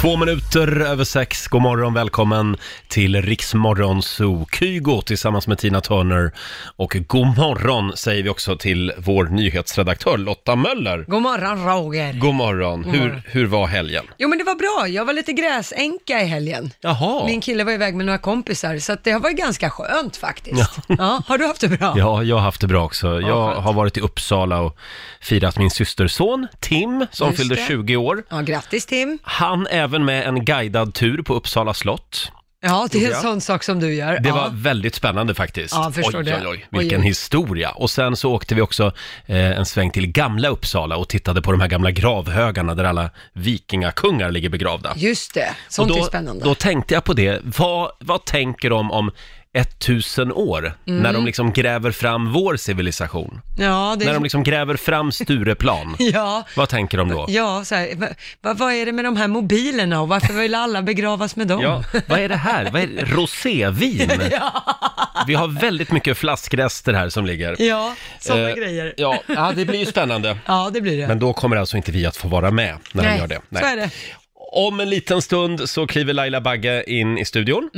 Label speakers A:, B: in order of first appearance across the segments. A: Två minuter över sex, god morgon, välkommen till Riksmorgon Zoo. Kygo tillsammans med Tina Turner. Och god morgon säger vi också till vår nyhetsredaktör Lotta Möller.
B: God morgon Roger.
A: God morgon,
B: God
A: hur,
B: morgon.
A: hur var helgen?
B: Jo men det var bra, jag var lite gräsänka i helgen.
A: Jaha.
B: Min kille var iväg med några kompisar, så att det har varit ganska skönt faktiskt. Ja. har du haft det bra?
A: Ja, jag har haft det bra också. Jag
B: skönt.
A: har varit i Uppsala och firat min systerson Tim som
B: Just
A: fyllde
B: det.
A: 20 år.
B: Ja, grattis Tim.
A: Han även med en guidad tur på Uppsala slott.
B: Ja, det är en
A: Ja.
B: sån sak som du gör.
A: Det
B: ja.
A: var väldigt spännande faktiskt.
B: Ja, jag förstår
A: oj,
B: det.
A: oj, oj, vilken
B: Oj, oj.
A: historia. Och sen så åkte vi också eh, en sväng till gamla Uppsala och tittade på de här gamla gravhögarna där alla vikingakungar ligger begravda.
B: Just det,
A: Och
B: sånt
A: då,
B: är spännande.
A: då tänkte jag på det, vad, vad tänker de om 1000 år, när
B: Mm.
A: de liksom gräver fram vår civilisation?
B: ja, det
A: När de liksom gräver fram Stureplan,
B: ja.
A: vad tänker de då?
B: Ja, så här, va- va, vad är det med de här mobilerna och varför vill alla begravas med dem?
A: Ja, vad är det här? Vad är det? Rosévin? Vi har väldigt mycket flaskrester här som ligger.
B: ja såna
A: Eh,
B: grejer.
A: Ja, ja, det blir ju spännande.
B: Ja, det blir det.
A: Men då kommer alltså inte vi att få vara med när de
B: Nej,
A: gör det.
B: så är det.
A: Om en liten stund så kliver Laila Bagge in i studion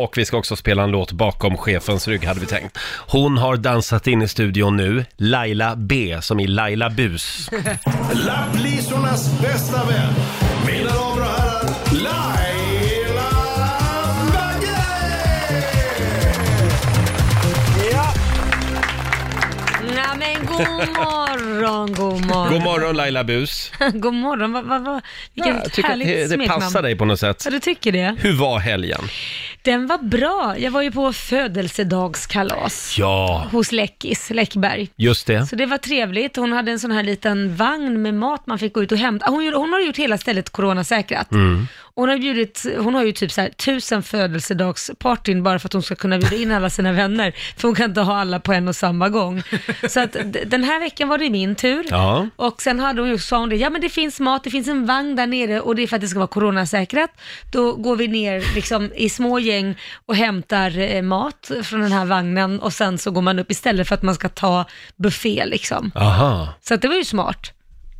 A: och vi ska också spela en låt bakom chefens rygg hade vi tänkt. Hon har dansat in i studion nu, Laila B som i Laila Bus.
C: Lapplisornas bästa vän. Mina damer och herrar, Laila Bagge!
D: Nej men god morgon, god
A: God
D: morgon.
A: morgon Laila Bus.
D: god morgon, vad, vad, vad, vilket
A: Jag tycker att
D: härligt
A: det, det
D: smeknamn.
A: passar dig på något sätt.
D: Ja, du tycker det?
A: Hur var helgen?
D: Den var bra. Jag var ju på födelsedagskalas
A: Ja,
D: hos Läckis, Läckberg.
A: just det.
D: Så det var trevligt. Hon hade en sån här liten vagn med mat man fick gå ut och hämta. Hon, gjorde- hon har gjort hela stället coronasäkrat.
A: Mm.
D: Hon, har bjudit, hon har ju typ så här, tusen födelsedagspartyn bara för att hon ska kunna bjuda in alla sina vänner. För hon kan inte ha alla på en och samma gång. Så att d- den här veckan var det min tur.
A: Ja.
D: Och sen hade hon ju, sa hon det, ja men det finns mat, det finns en vagn där nere och det är för att det ska vara coronasäkrat. Då går vi ner liksom i små gäng och hämtar eh, mat från den här vagnen och sen så går man upp istället för att man ska ta buffé liksom.
A: Aha.
D: Så att det var ju smart.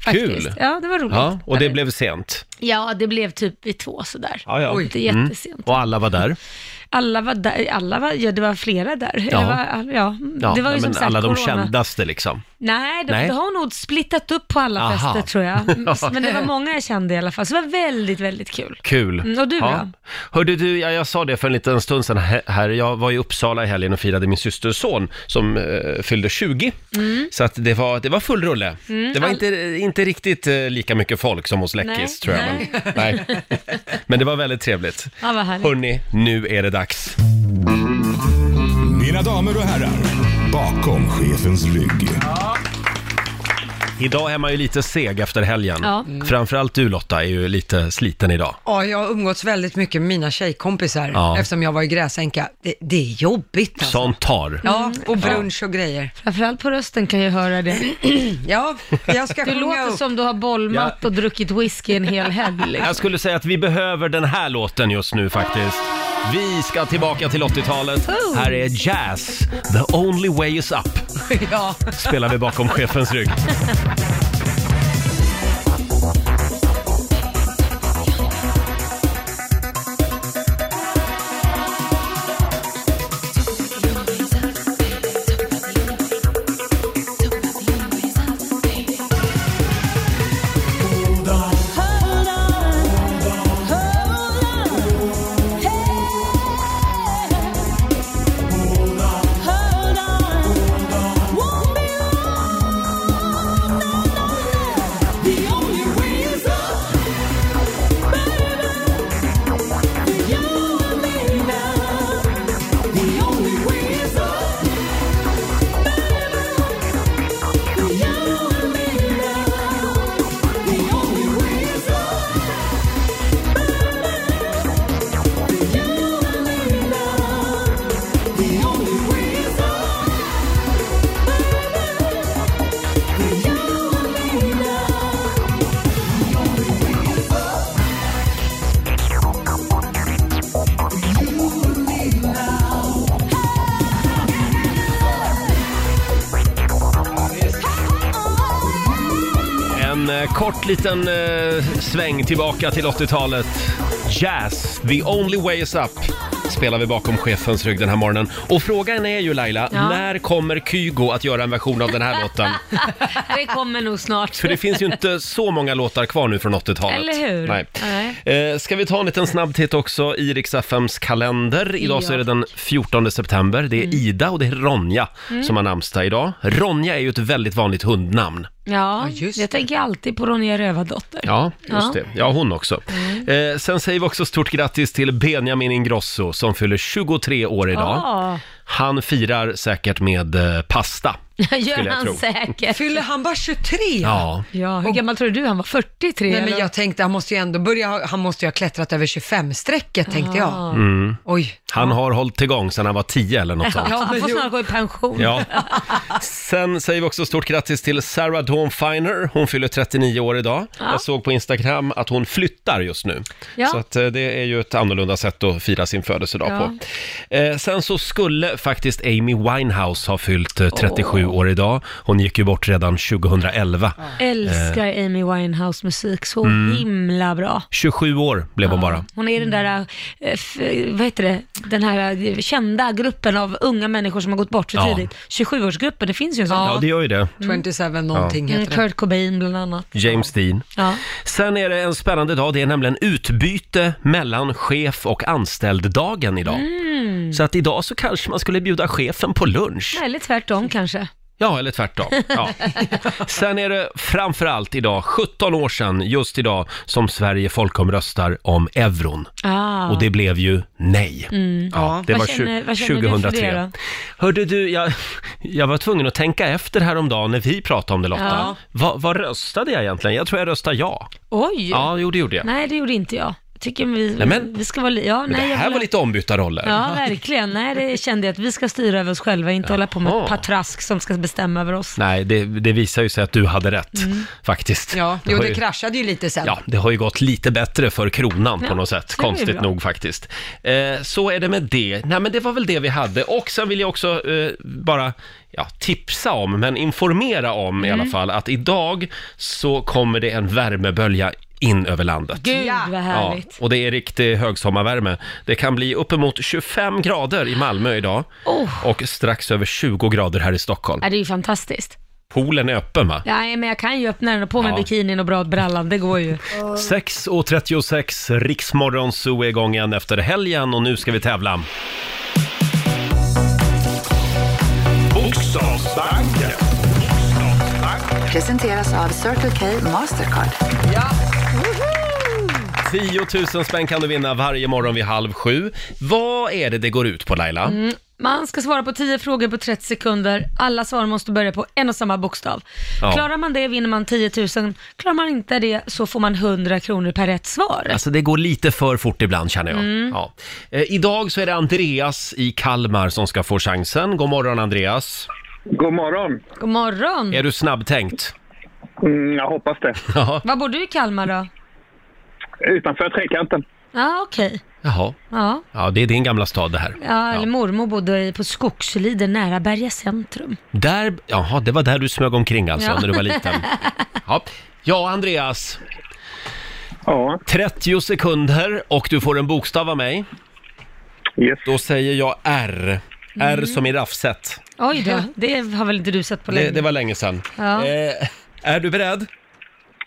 D: Faktiskt.
A: Kul.
D: Ja, det var roligt.
A: Ja, och det blev sent.
D: ja, det blev typ vid två sådär.
A: Ja, Mm. ja.
D: Det är jättesent.
A: Och alla var där.
D: Alla var där, alla var, ja det var flera där.
A: Ja.
D: Det var, ja,
A: Ja,
D: det var ju
A: nej,
D: som
A: men
D: sagt
A: alla de
D: corona.
A: kändaste liksom.
D: Nej, de,
A: Nej.
D: de har nog splittat upp på alla
A: Aha.
D: fester tror jag. Mm, Men det var många jag kände i alla fall, så det var väldigt, väldigt kul.
A: Kul.
D: Mm, och du då?
A: Hörde du, ja, jag sa det för en liten stund sedan hä- här. Jag var i Uppsala i helgen och firade min systerson som eh, fyllde 20.
D: Mm.
A: Så att det var, det var full rulle. Det var inte, inte riktigt eh, lika mycket folk som hos Läckis
D: Nej,
A: tror jag. Men, nej. men det var väldigt trevligt.
D: Ja, vad härligt.
A: Hörni, nu är det dags.
C: Mina damer och herrar, bakom chefens rygg.
A: Idag är man ju lite seg efter helgen.
D: Ja.
A: Framförallt du Lotta är ju lite sliten idag.
B: Ja, jag har umgåtts väldigt mycket med mina tjejkompisar
A: Ja.
B: eftersom jag var i gräsänka. Det, det är jobbigt alltså.
A: Sånt tar.
B: Ja, och
A: Mm.
B: brunch och grejer.
D: Framförallt på rösten kan jag höra det.
B: Ja, jag ska
D: Du
B: sjunga
D: låter
B: upp.
D: som du har bollmat och druckit whisky en hel helg. Liksom.
A: Jag skulle säga att vi behöver den här låten just nu faktiskt. Vi ska tillbaka till 80-talet.
D: Oh.
A: Här är Jazz, The Only Way Is Up.
B: Ja.
A: Spelar vi bakom chefens rygg.
E: Hold on, won't be long. No, no,
A: kort liten eh, sväng tillbaka till 80-talet. Jazz, the only way is up, spelar vi bakom chefens rygg den här morgonen. Och frågan är ju Laila,
D: Ja.
A: när kommer Kygo att göra en version av den här låten?
D: Det kommer nog snart.
A: För det finns ju inte så många låtar kvar nu från 80-talet.
D: Eller hur?
A: Nej. Eh, ska vi ta en liten snabb titt också i Rix FMs kalender. Idag så
D: Ja. Mm.
A: är det den 14 september. Det är Ida och det är Ronja som har namnsdag idag. Ronja är ju ett väldigt vanligt hundnamn.
D: Ja,
B: just
D: jag tänker alltid på Ronja Rövardotter.
A: Ja, just
D: Ja. Mm.
A: det. Ja, hon också. Eh, sen säger vi också stort grattis till Benjamin Ingrosso som fyller 23 år idag.
D: Ja.
A: Han firar säkert med eh, pasta.
D: gör
A: jag
D: han
A: tro.
D: säkert.
B: Fyller han bara 23?
A: Ja.
D: Ja, hur gammal tror du han var? 43?
B: Nej, men
D: eller?
B: jag tänkte han måste ju ändå börja, ha- han måste ju ha klättrat över 25-strecket tänkte jag.
A: Ah.
D: Ja.
A: Mm.
B: Oj.
A: Han har hållit igång sedan han var 10 eller något sånt.
D: Ja, han
B: men
D: får
B: jo.
D: snart gå i pension.
A: Ja. Sen säger vi också stort grattis till Sarah Dawn Finer. Hon fyller 39 år idag. Jag såg på Instagram att hon flyttar just nu.
D: Ja.
A: Så att eh, det är ju ett annorlunda sätt att fira sin födelsedag
D: Ja.
A: på. Eh, sen så skulle faktiskt Amy Winehouse ha fyllt eh, 37 år idag. Hon gick ju bort redan 2011.
D: Älskar
A: Eh.
D: Amy Winehouse musik så
A: Mm.
D: himla bra.
A: 27 år blev hon bara.
D: Hon är i den där, eh, f- vad heter det, den här eh, kända gruppen av unga människor som har gått bort för
A: Ja.
D: tidigt. 27-årsgruppen, det finns ju en sån.
A: Ja, det gör ju det.
B: 27 någonting
D: Mm,
B: heter det.
D: Kurt Cobain bland annat.
A: James Dean.
D: Ja.
A: Sen är det en spännande dag. Det är nämligen utbyte mellan chef och anställd-dagen idag.
D: Mm.
A: Så att idag så kanske man skulle bjuda chefen på lunch.
D: Eller tvärtom kanske.
A: Ja, eller tvärtom. Ja. Sen är det framförallt idag, 17 år sedan, just idag, som Sverige folkomröstar om euron.
D: Ah.
A: Och det blev ju nej. Ja, det
D: Mm. Vad
A: var
D: känner-
A: tju-
D: vad känner du för det
A: 2003.
D: då?
A: Hörde du, jag, jag var tvungen att tänka efter häromdagen när vi pratade om det Lotta.
D: Ja.
A: Va, vad röstade jag egentligen? Jag tror jag röstade ja.
D: Oj!
A: Ja, jo det gjorde jag.
D: Nej, det gjorde inte jag. Tycker vi,
A: Nej, men-
D: vi ska vara... li- Ja,
A: Men
D: nej,
A: det
D: jag
A: här
D: vill
A: var
D: ha-
A: lite ombytta roller.
D: Ja, verkligen. Nej, det kände jag att vi ska styra över oss själva, inte hålla på med
A: Jaha.
D: ett patrask som ska bestämma över oss.
A: Nej, det, det visar ju sig att du hade rätt,
D: Mm.
A: faktiskt.
B: Ja, jo
A: har
B: det
A: ju,
B: kraschade ju lite sen.
A: ja, det har ju gått lite bättre för kronan på
D: Ja,
A: något sätt,
D: det är ju
A: konstigt
D: bra.
A: nog faktiskt. Eh, så är det med det. Nej, men det var väl det vi hade. Och sen vill jag också eh, bara ja, tipsa om, men informera om i
D: Mm.
A: alla fall, att idag så kommer det en värmebölja in över landet.
D: Gud
B: Ja.
D: vad
A: Ja,
D: härligt.
A: och det är riktig högsommarvärme. Det kan bli uppemot 25 grader i Malmö idag
D: Oh.
A: och strax över 20 grader här i Stockholm.
D: Ja, det är ju fantastiskt.
A: Poolen är öppen va?
D: Nej, men jag kan ju öppna den och på med
A: Ja.
D: bikinin och bra brallan, det går ju.
A: 6.36, Riksmorgon Zoo är igång igen efter helgen och nu ska vi tävla.
C: Bokstavsbanken.
E: Presenteras av Circle K Mastercard.
A: 10 000 spänn kan du vinna varje morgon vid halv sju. Vad är det det går ut på Laila?
D: Mm. Man ska svara på 10 frågor på 30 sekunder. Alla svar måste börja på en och samma bokstav.
A: Ja.
D: Klarar man det vinner man 10 000. Klarar man inte det så får man 100 kronor per rätt svar.
A: Alltså det går lite för fort ibland känner jag.
D: Mm.
A: Ja. Eh, idag så är det Andreas i Kalmar som ska få chansen. God morgon Andreas.
F: God morgon.
D: God morgon!
A: Är du snabbtänkt?
F: Mm, jag hoppas det.
A: Ja.
D: Var bor du i Kalmar då?
F: Utanför trekanten.
D: Ja, okej.
A: Jaha.
D: Ja.
A: Ja, det är din gamla stad det här.
D: Ja, eller mormor bodde i- på Skogsliden nära Berga centrum.
A: Där, jaha, det var där du smög omkring alltså
D: Ja.
A: när du var liten. Ja. ja, Andreas.
F: Ja,
A: 30 sekunder och du får en bokstav av mig.
F: yes.
A: Då säger jag R.
D: Mm.
A: R som i raffset.
D: Oj då, det har väl inte du sett på
A: Det,
D: länge?
A: det var länge sedan.
D: Ja.
A: Eh, är du beredd?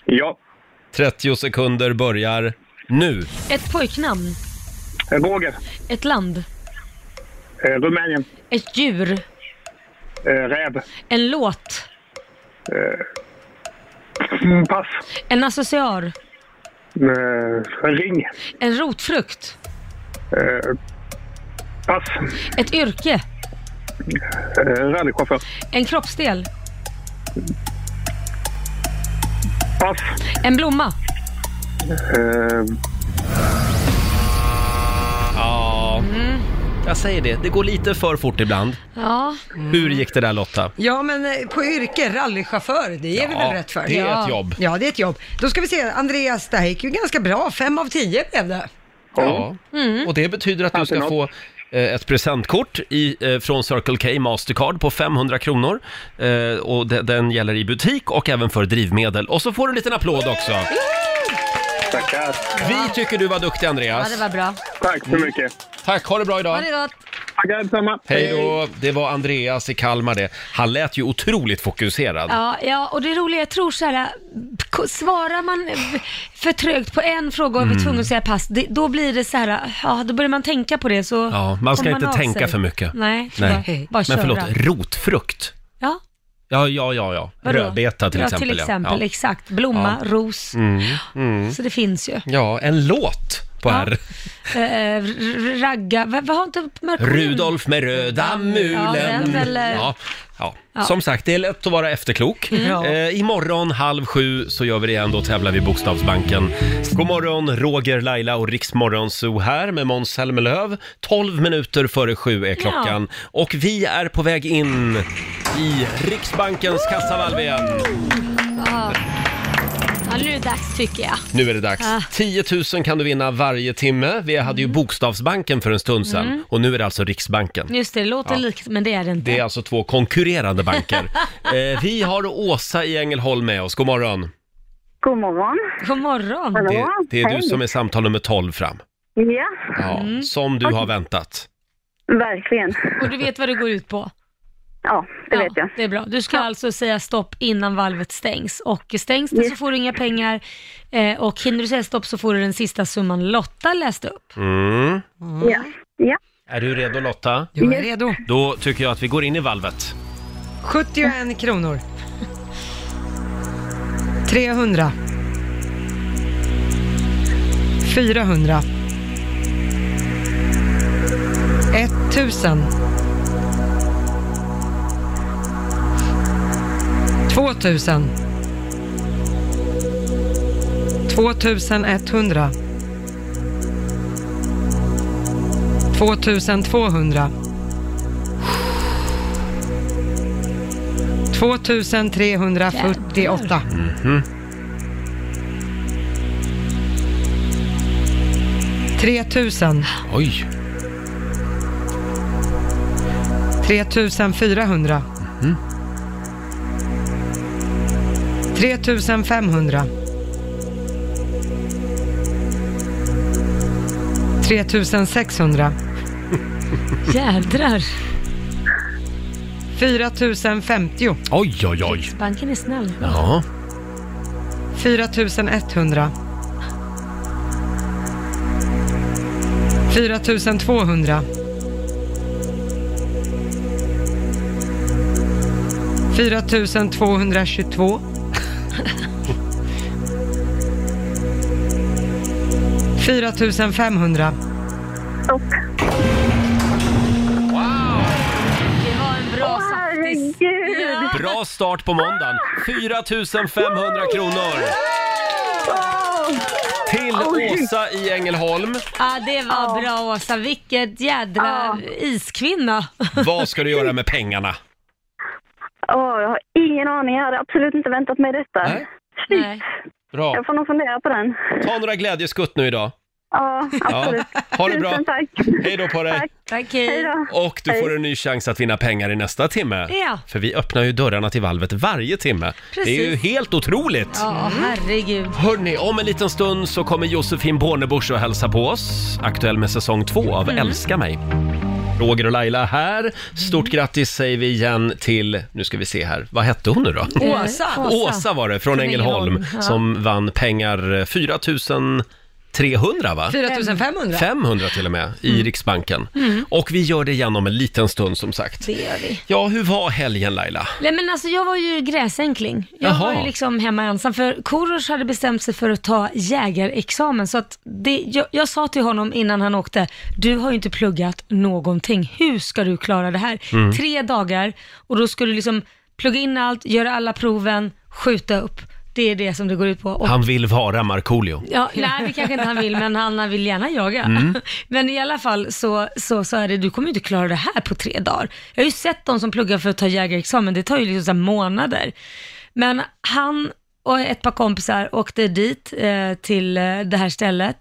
F: Ja.
A: 30 sekunder börjar nu.
D: Ett pojknamn,
F: Eh, Roger.
D: ett land,
F: Eh, Rumänien.
D: ett djur,
F: Eh, räv.
D: en låt,
F: Mm, pass.
D: en accessoar,
F: Eh, ring.
D: en rotfrukt,
F: Eh, pass.
D: ett yrke,
F: Eh, rallychaufför.
D: en kroppsdel,
F: Pass.
D: en blomma.
F: Eh,
A: Ja, jag säger det. Det går lite för fort ibland.
D: Ja,
A: Hur gick det där Lotta?
B: Ja, men eh, på yrke, rallychaufför, det ger vi
A: Ja,
B: väl rätt för?
A: det är
B: ja.
A: ett jobb.
B: Ja, det är ett jobb. Då ska vi se, Andreas, det här gick ju ganska bra. Fem av tio blev det.
D: Mm.
A: Ja. Och det betyder att du ska
F: något.
A: få eh, ett presentkort i, eh, från Circle K Mastercard på 500 kronor. Eh, och de, den gäller i butik och även för drivmedel. Och så får du en liten applåd också.
F: Tackar.
A: Vi tycker du var duktig
D: Ja,
A: Andreas.
D: det var bra.
F: Tack så mycket.
A: Tack, ha det bra
D: Ha
A: idag.
D: det gott.
F: Tackar detsamma.
A: Hej då. Det var Andreas i Kalmar det. Han lät ju otroligt fokuserad.
D: Ja, ja, och det roliga, jag tror så här, k- svarar man för trögt på en fråga och är
A: Mm.
D: vi tvungna att säga pass, det, då blir det så här, ja, då börjar man tänka på det så
A: Ja, man ska
D: kommer
A: inte
D: av
A: tänka
D: sig.
A: för mycket.
D: Nej,
A: Nej.
D: Nej. bara, bara
A: Men
D: köra.
A: förlåt, rotfrukt?
D: Ja,
A: Ja, ja, ja, ja.
D: vadå?
A: Rödbeta till
D: ja,
A: exempel.
D: till exempel, liksom.
A: Ja. Mm,
D: exakt. Blomma, ros. Så det finns ju.
A: ja, en låt på
D: Ja.
A: R.
D: Eh, r- r- ragga, vad vad har inte Marko
A: Rudolf med röda
D: Ja,
A: mulen.
D: den eller- Mm.
A: Ja, ja. Som sagt, det är lätt att vara efterklok.
B: Ja.
A: Eh, imorgon halv sju så gör vi det igen, då tävlar vi Bokstavsbanken. God morgon, Roger, Laila och Riksmorgonzoo här med Måns Zelmerlöw. 12 minuter före sju är klockan. Och vi är på väg in i Riksbankens kassavalv igen.
D: Ja, nu är det dags tycker jag.
A: Nu är det dags.
D: Ah.
A: 10 000 kan du vinna varje timme. Vi hade ju
D: Mm.
A: Bokstavsbanken för en stund sedan och nu är det alltså Riksbanken.
D: Just det, det låter likt, men det är det inte.
A: Det är alltså två konkurrerande banker. eh, vi har Åsa i Ängelholm med oss. God morgon.
G: God morgon.
D: God morgon.
A: Det,
G: Hallå?
A: det är du
G: Hej.
A: som är samtal nummer 12 fram.
G: Ja,
A: Ja, Som du har väntat.
G: verkligen.
D: Och du vet vad det går ut på?
G: Ja, det
D: ja,
G: vet jag.
D: Det är bra. Du ska alltså säga stopp innan valvet stängs. Och stängs det så får du inga pengar eh, och hinner du säga stopp så får du den sista summan Lotta läste upp.
A: Mm.
G: Ja. ja.
A: Är du redo Lotta?
B: Jag är redo.
A: Då tycker jag att vi går in i valvet.
B: 71 kronor. 300. 400. 1000. 2000. 2100. 2200. 2348. Mm. 3000,
A: Oj!
B: 3400. 3500. 3600.
D: Jädrar,
B: 4050.
A: Oj, oj, oj.
D: banken är snäll.
A: Ja.
B: 4100. 4200. 4222. 4500.
G: Stopp.
D: Det var en bra saftis.
G: Herregud!
A: Bra start på måndagen. 4 500 kronor till Åsa i Ängelholm.
D: Ja, det var bra Åsa. Vilket jädra iskvinna.
A: Vad ska du göra med pengarna?
G: Åh, jag har ingen aning. Jag hade absolut inte väntat mig detta.
A: Nej.
D: Nej.
A: Bra.
G: Jag får nog fundera på den.
A: Ta några glädjeskutt nu idag.
G: Ja, absolut.
A: Ha det bra.
G: Tusen tack.
A: Hej då på dig.
G: Tack.
D: Tack,
G: Hej
D: hej.
G: då.
A: Och du
G: Hej.
A: får en ny chans att vinna pengar i nästa timme.
D: Ja.
A: För vi öppnar ju dörrarna till valvet varje timme.
D: Precis.
A: Det är ju helt otroligt!
D: Ja, herregud.
A: Hörni, om en liten stund så kommer Josefin Bornebusch och hälsa på oss. Aktuell med säsong två av Älska mig. Roger och Laila här. Stort grattis säger vi igen till, nu ska vi se här, vad hette hon nu då?
B: Åsa.
A: Åsa, var det, från, Ängelholm,
D: Ja.
A: som vann pengar eh, 4 300 va?
B: 4500.
A: 500 till och med
D: Mm.
A: i Riksbanken. Och vi gör det igen om en liten stund som sagt.
D: Det gör vi.
A: Ja, hur var helgen Laila?
D: Nej men alltså jag var ju gräsänkling. Jag
A: Jaha.
D: var ju liksom hemma ensam för Korosh hade bestämt sig för att ta jägarexamen så att det, jag, jag sa till honom innan han åkte, du har ju inte pluggat någonting, hur ska du klara det här? Tre dagar och då ska du liksom plugga in allt, göra alla proven, skjuta upp. Det är det som det går ut på. Och
A: Han vill vara Markoolio.
D: Ja, nej, det kanske inte han vill, men han vill gärna jaga.
A: Mm.
D: Men i alla fall så, så, så är det, du kommer ju inte klara det här på tre dagar. Jag har ju sett de som pluggar för att ta jägarexamen, det tar ju liksom så här månader. Men han och ett par kompisar åkte dit eh, till eh, det här stället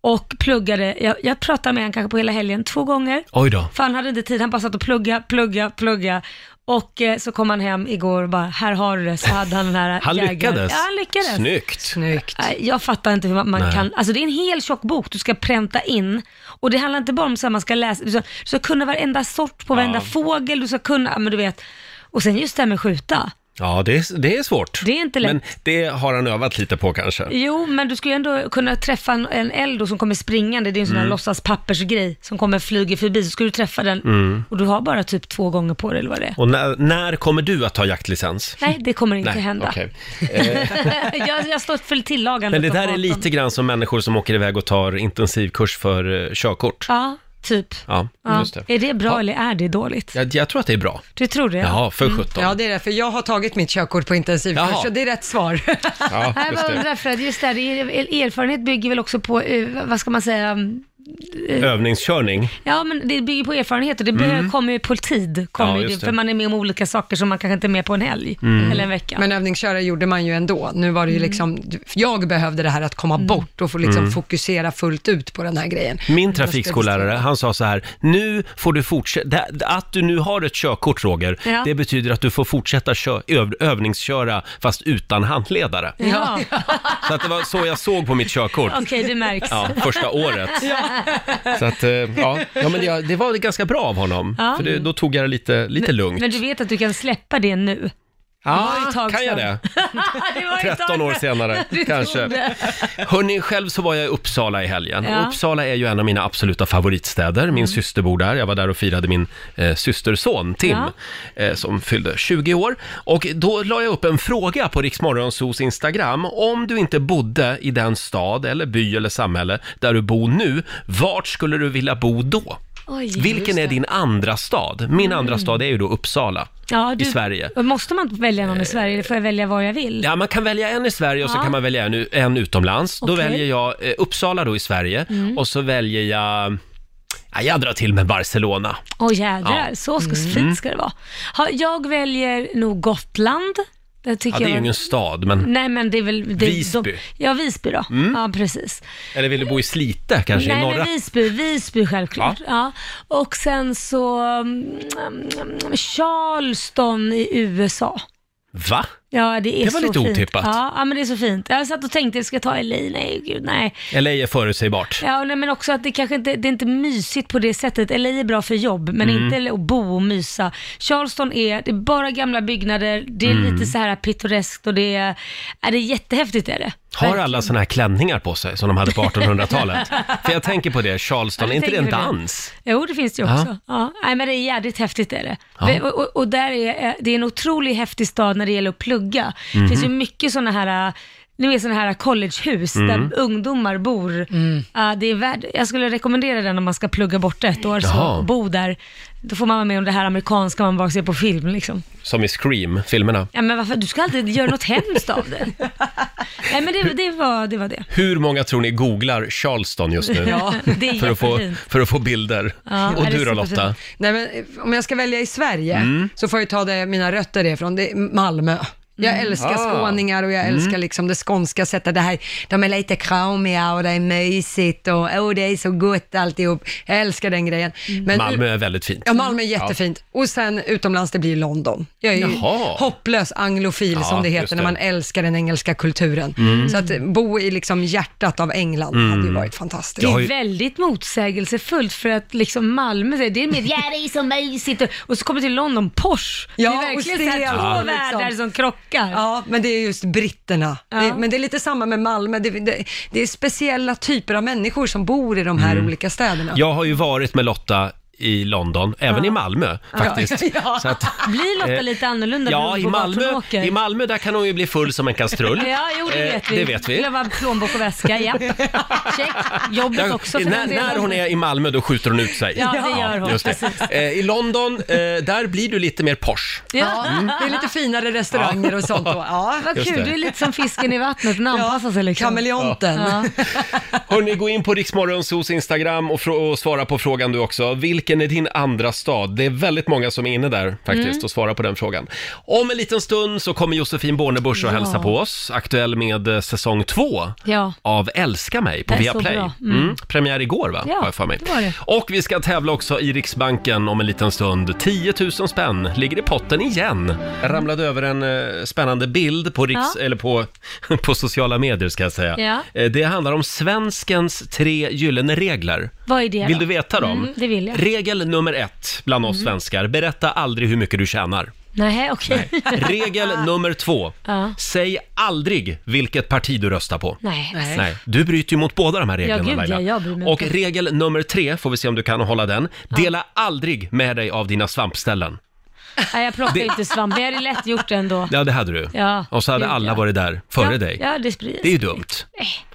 D: och pluggade. Jag, jag pratade med honom kanske på hela helgen två gånger.
A: Oj då.
D: För han hade inte tid, han bara satt och plugga, plugga, plugga. Och eh, så kom han hem igår och bara, här har du det. Så hade han den här
A: Han
D: jägaren.
A: lyckades.
D: Ja, han lyckades.
A: Snyggt.
B: Snyggt.
D: Nej, Jag fattar inte hur man, man
A: Nej.
D: kan, alltså det är en hel tjock bok du ska pränta in. Och det handlar inte bara om så här, man ska läsa, du ska, du ska kunna varenda sort på varenda fågel, du ska kunna, ja, men du vet. Och sen just det här med skjuta.
A: Ja, det är, det är svårt.
D: Det är inte lätt.
A: Men det har han övat lite på kanske.
D: Jo, men du ska ju ändå kunna träffa en, en eld då som kommer springande, det är en
A: Mm.
D: sån här låtsaspappersgrej som kommer flyger förbi, så ska du träffa den
A: Mm.
D: och du har bara typ två gånger på dig eller vad det är.
A: Och när, när kommer du att ta jaktlicens?
D: Nej, det kommer inte hända.
A: okej.
D: jag, jag står för tillagandet
A: Men det
D: av
A: där är
D: maten.
A: lite grann som människor som åker iväg och tar intensivkurs för eh, körkort.
D: Ja, typ.
A: Ja,
D: Ja.
A: just det.
D: Är det bra eller är det dåligt?
A: Jag, jag tror att det är bra.
D: Du tror det?
A: Ja, för sjutton.
B: Ja, det är det, för jag har tagit mitt körkort på
A: Jaha.
B: intensivkurs, så det är rätt svar.
A: Ja,
D: Nej,
A: just
D: jag
A: det.
D: undrar Fred, just det här, det är- erfarenhet bygger väl också på, eh, vad ska man säga, mm,
A: Övningskörning.
D: ja men det bygger på erfarenhet och det behöver- kommer ju på tid,
A: Mm. Ja,
D: kommer ju
A: just det.
D: det,
A: Mm.
D: för man är med om olika saker som man kanske inte är med på en helg eller en vecka.
B: Men övningsköra gjorde man ju ändå. Nu var det ju liksom, jag behövde det här att komma bort och få liksom fokusera fullt ut på den här grejen.
A: Mm. Min trafikskollärare, han sa så här, nu får du fortsätta, att du nu har ett körkort Roger,
D: Ja.
A: det betyder att du får fortsätta kö- öv, övningsköra fast utan handledare.
D: ja,
A: Så att det var så jag såg på mitt körkort.
D: okej det märks.
A: Ja, första året. Så att, eh, ja, ja men det, det var ganska bra av honom.
D: Ja.
A: För det, då tog jag det lite, lite lugnt.
D: Men du vet att du kan släppa det nu?
A: ja,
D: var ett tag
A: kan jag
D: sedan.
A: det?
D: Det var ett
A: 13
D: tag
A: år
D: sedan.
A: senare,
D: Du
A: kanske.
D: tog det.
A: Hörni, själv så var jag i Uppsala i helgen.
D: Ja.
A: Uppsala är ju en av mina absoluta favoritstäder. Min syster bor där. Jag var där och firade min eh, systerson Tim, eh, som fyllde 20 år. Och då la jag upp en fråga på Riksmorgonsos Instagram. Om du inte bodde i den stad, eller by eller samhälle där du bor nu, vart skulle du vilja bo då?
D: Oj.
A: Vilken är din andra stad? Min andra stad är ju då Uppsala
D: ja, du,
A: i Sverige. Eh,
D: Måste man välja någon i Sverige eller får jag välja var jag vill?
A: Ja, man kan välja en i Sverige och så
D: Ja.
A: kan man välja en, en utomlands. Då
D: Okej. Mm.
A: väljer jag eh, Uppsala då i Sverige och så väljer jag... Ja, jag drar till med Barcelona.
D: Åh jädrar,
A: Ja. Mm.
D: så ska, fint ska det vara. Ha, jag väljer nog Gotland. Det tycker
A: Ja, det är
D: jag
A: ju
D: var-
A: ingen stad, men...
D: Nej men det är väl... Det,
A: Visby.
D: De, ja, Visby då. Ja, precis.
A: Eller vill du bo i Slite kanske,
D: Nej
A: i norra?
D: men Visby, Visby självklart. Ja. Och sen så mm, Charleston i USA.
A: Va?
D: Ja, det är
A: Det var
D: så
A: lite
D: fint.
A: otippat.
D: Ja, ja, men det är så fint. Jag satt och tänkte, ska jag ta LA? Nej, gud nej.
A: LA är förutsägbart.
D: Ja, och nej, men också att det kanske inte, det är inte mysigt på det sättet. LA är bra för jobb, men
A: Mm.
D: inte att bo och mysa. Charleston är, det är bara gamla byggnader, det är
A: Mm.
D: lite så här pittoreskt och det är, är det är jättehäftigt är det.
A: Har alla såna här klänningar på sig som de hade på 1800-talet? För jag tänker på det, Charleston,
D: Ja,
A: är inte det en
D: tänker du
A: dans?
D: Jo, det finns det ju
A: Ja.
D: också. Ja. Nej, men det är jädrigt häftigt är det.
A: Ja.
D: Och, och, och där är, eh, det är en otroligt häftig stad när det gäller att plugga. Det finns ju
A: Mhm.
D: mycket sådana här, ni vet sådana här collegehus
A: Mm.
D: där ungdomar bor. Ja, det är värd, jag skulle rekommendera den om man ska plugga borta ett år,
A: Jaha.
D: så bo där. Då får man vara med om det här amerikanska man bara ser på film liksom.
A: Som i Scream, filmerna.
D: Ja, men varför, du ska alltid göra något hemskt av det. Nej, men det, det, var, det var det.
A: Hur många tror ni googlar Charleston just nu?
D: Ja, det är
A: För att, få,
D: jättefint.
A: för att få bilder.
D: Ja,
A: och
D: det är
A: du då
D: superfint.
A: Lotta?
B: Nej, men eh, om jag ska välja i Sverige
A: Mm.
B: så får jag ju ta det mina rötter är ifrån, det är Malmö. Jag älskar
A: Ah.
B: skåningar och jag älskar liksom det skånska sättet. Det här, de är lite kramiga och det är mysigt och åh, det är så gott alltihop. Jag älskar den grejen. Men,
A: Malmö är väldigt fint.
B: Ja, Malmö är jättefint. Och sen utomlands, det blir London. Jag är ju
A: Jaha.
B: hopplös anglofil
A: Ja,
B: som det
A: just
B: heter
A: det. Mm.
B: när man älskar den engelska kulturen. Så att bo i liksom hjärtat av England hade ju varit fantastiskt.
A: Jag har ju-
D: Det är väldigt motsägelsefullt för att liksom Malmö, säger, det är mer ja det är så mysigt och- och så kommer till London, Porsche.
B: Ja,
D: det är
B: och
D: verkligen så här
B: Stena,
D: två
B: liksom.
D: världar som krockar.
B: Ja, men det är just britterna. Det, men det är lite samma med Malmö. Det, det, det är speciella typer av människor som bor i de här
A: Mm.
B: olika städerna.
A: Jag har ju varit med Lotta i London, även i Malmö faktiskt. Så att,
D: Blir Lotta
A: Eh,
D: lite annorlunda
A: ja,
D: beroende
A: i
D: på vart hon
A: Malmö,
D: åker?
A: i Malmö där kan hon ju bli full som en kastrull.
D: Ja, jo det
A: Eh,
D: vet vi.
A: Det vet vi.
D: Glömma plånbok och väska, ja. Check. Jobbet
A: Där,
D: också för
A: när,
D: den delen.
A: när hon är i Malmö då skjuter hon ut sig.
D: Ja, det gör hon.
A: just det.
D: Precis.
A: Eh, I London, eh, där blir du lite mer Porsche.
D: Ja.
B: Ja, Mm. det är lite finare restauranger och sånt då. Ja.
D: Vad
A: Just
D: kul,
A: det.
D: du är lite som fisken i vattnet, den anpassar sig liksom.
B: Kameleonten.
D: Ja.
A: Hörni, gå in på Riksmorgonsos Instagram och, frå- och svara på frågan du också. Vilk, vilken är din andra stad? Det är väldigt många som är inne där faktiskt
D: Mm.
A: och svarar på den frågan. Om en liten stund så kommer Josefin Bornebusch och
D: Ja.
A: hälsa på oss, aktuell med eh, säsong två
D: Ja.
A: av Älska mig på
D: Det är så
A: Viaplay.
D: bra.
A: Mm. Premiär igår va?
D: Ja,
A: Har jag för mig.
D: det var det.
A: Och vi ska tävla också i Riksbanken om en liten stund. 10 000 spänn ligger i potten igen. Jag ramlade över en eh, spännande bild på, riks,
D: Ja.
A: eller på, på sociala medier ska jag säga.
D: Ja.
A: Eh, det handlar om svenskens tre gyllene regler.
D: Vad är det då?
A: Vill du veta dem?
D: Mm, det vill jag. Mm.
A: Regel nummer ett bland oss svenskar. Berätta aldrig hur mycket du tjänar.
D: Nej, okej.
A: Regel nummer två.
D: Ja.
A: Säg aldrig vilket parti du röstar på.
D: Nej.
B: Nej.
A: Nej, du bryter ju mot båda de här reglerna
D: Ja, gud,
A: Laila.
D: ja, jag bryr mig
A: Och
D: inte.
A: regel nummer tre, får vi se om du kan hålla den. Dela aldrig med dig av dina svampställen.
D: Nej, jag plockar inte svamp. Vi hade lätt gjort det ändå.
A: Ja, det hade du.
D: Ja,
A: Och så hade
D: gud,
A: alla
D: ja.
A: varit där före
D: ja,
A: dig.
D: Ja, det Eh. sprids.
A: Det är ju dumt.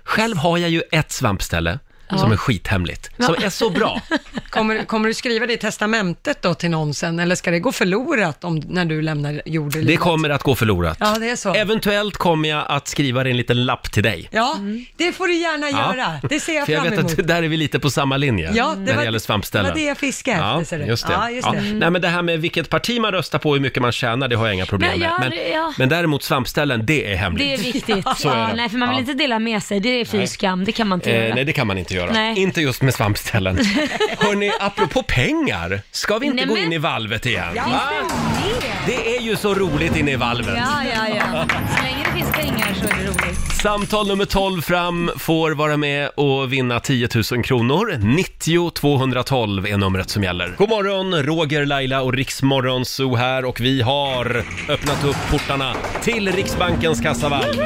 A: Själv har jag ju ett svampställe som är skithemligt, som är så bra.
B: Kommer, kommer du skriva det i testamentet då till någon sen, eller ska det gå förlorat om, när du lämnar jorden?
A: Det kommer att gå förlorat.
B: Ja, det är så.
A: Eventuellt kommer jag att skriva en liten lapp till dig.
B: Ja, det får du gärna
A: Ja.
B: göra. Det ser jag
A: För jag
B: fram
A: vet
B: emot.
A: att där är vi lite på samma linje
B: Ja, det
A: när
B: var-
A: det gäller svampställen.
B: det var det jag fiskade efter,
A: ja,
B: ser du.
A: Just det.
B: Ja, just det.
A: Nej, men det här med vilket parti man röstar på och hur mycket man tjänar, det har jag inga problem
D: Men ja,
A: med.
D: det- ja.
A: men däremot svampställen, det är
D: Det är
A: hemligt.
D: viktigt.
A: Så är det.
D: Ja, nej, för man vill
A: Ja.
D: inte dela med sig. Det är fy skam. Det kan man inte
A: Eh,
D: göra.
A: nej, det kan man inte göra.
D: Nej.
A: Inte just med svampställen. Hörni, apropå pengar, ska vi inte
D: Nej,
A: gå
D: men-
A: in i valvet igen?
D: Finns
A: Va?
D: det det?
A: Det är ju så roligt inne i valvet.
D: Ja, ja, ja. Så länge det finns pengar så är det roligt.
A: Samtal nummer 12 fram får vara med och vinna 10 000 kronor. 90 212 är numret som gäller. God morgon, Roger, Laila och Riksmorgon Zoo här och vi har öppnat upp portarna till Riksbankens kassavalv.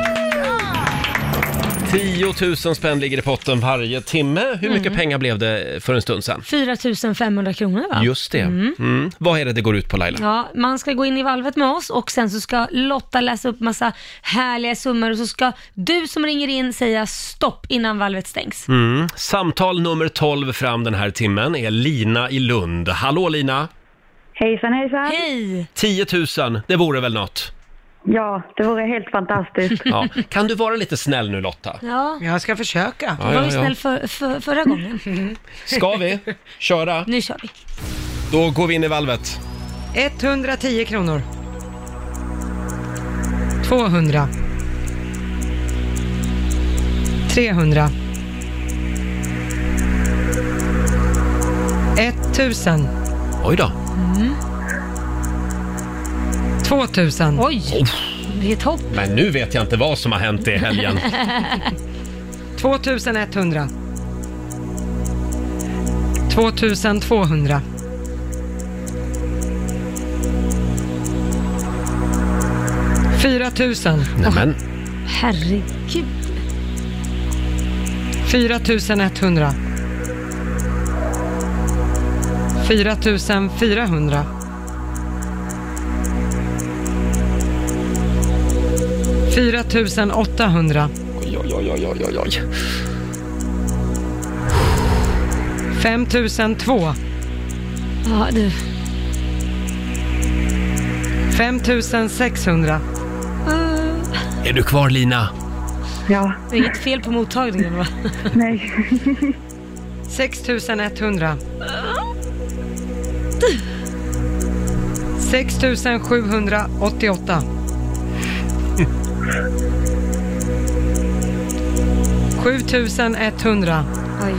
A: 10 000 spänn ligger i potten varje timme. Hur mycket pengar blev det för en stund sedan?
D: 4 500 kronor va?
A: Just det. Mm. Vad är det det går ut på Laila?
D: Ja, man ska gå in i valvet med oss och sen så ska Lotta läsa upp massa härliga summor och så ska du som ringer in säga stopp innan valvet stängs.
A: Mm. Samtal nummer 12 fram den här timmen är Lina i Lund. Hallå Lina!
G: Hejsan, hejsan.
D: Hej!
A: 10 000, det vore väl något?
G: Ja, det vore helt fantastiskt.
A: Ja. Kan du vara lite snäll nu Lotta?
D: Ja,
B: Jag ska försöka.
A: Ja,
D: var
A: ja,
D: vi
A: ja.
D: snäll för, för, förra gången.
A: Ska vi köra?
D: Nu kör vi.
A: Då går vi in i valvet.
B: 110 kronor. 200. 300. 1000.
A: Oj då.
B: 2000.
D: Oj! Det är topp.
A: Men nu vet jag inte vad som har hänt i helgen.
B: 2100. 2200. 4000.
A: Nämen.
D: Herregud.
B: 4100. 4400. 4800.
A: Oj, oj, oj, oj, oj, oj, oj.
B: 5002.
D: Ja, du.
B: 5600.
A: Är du kvar Lina?
G: Ja,
D: Det är inget fel på mottagningen va?
G: nej.
B: 6100. 6788. 7100.
D: Oj.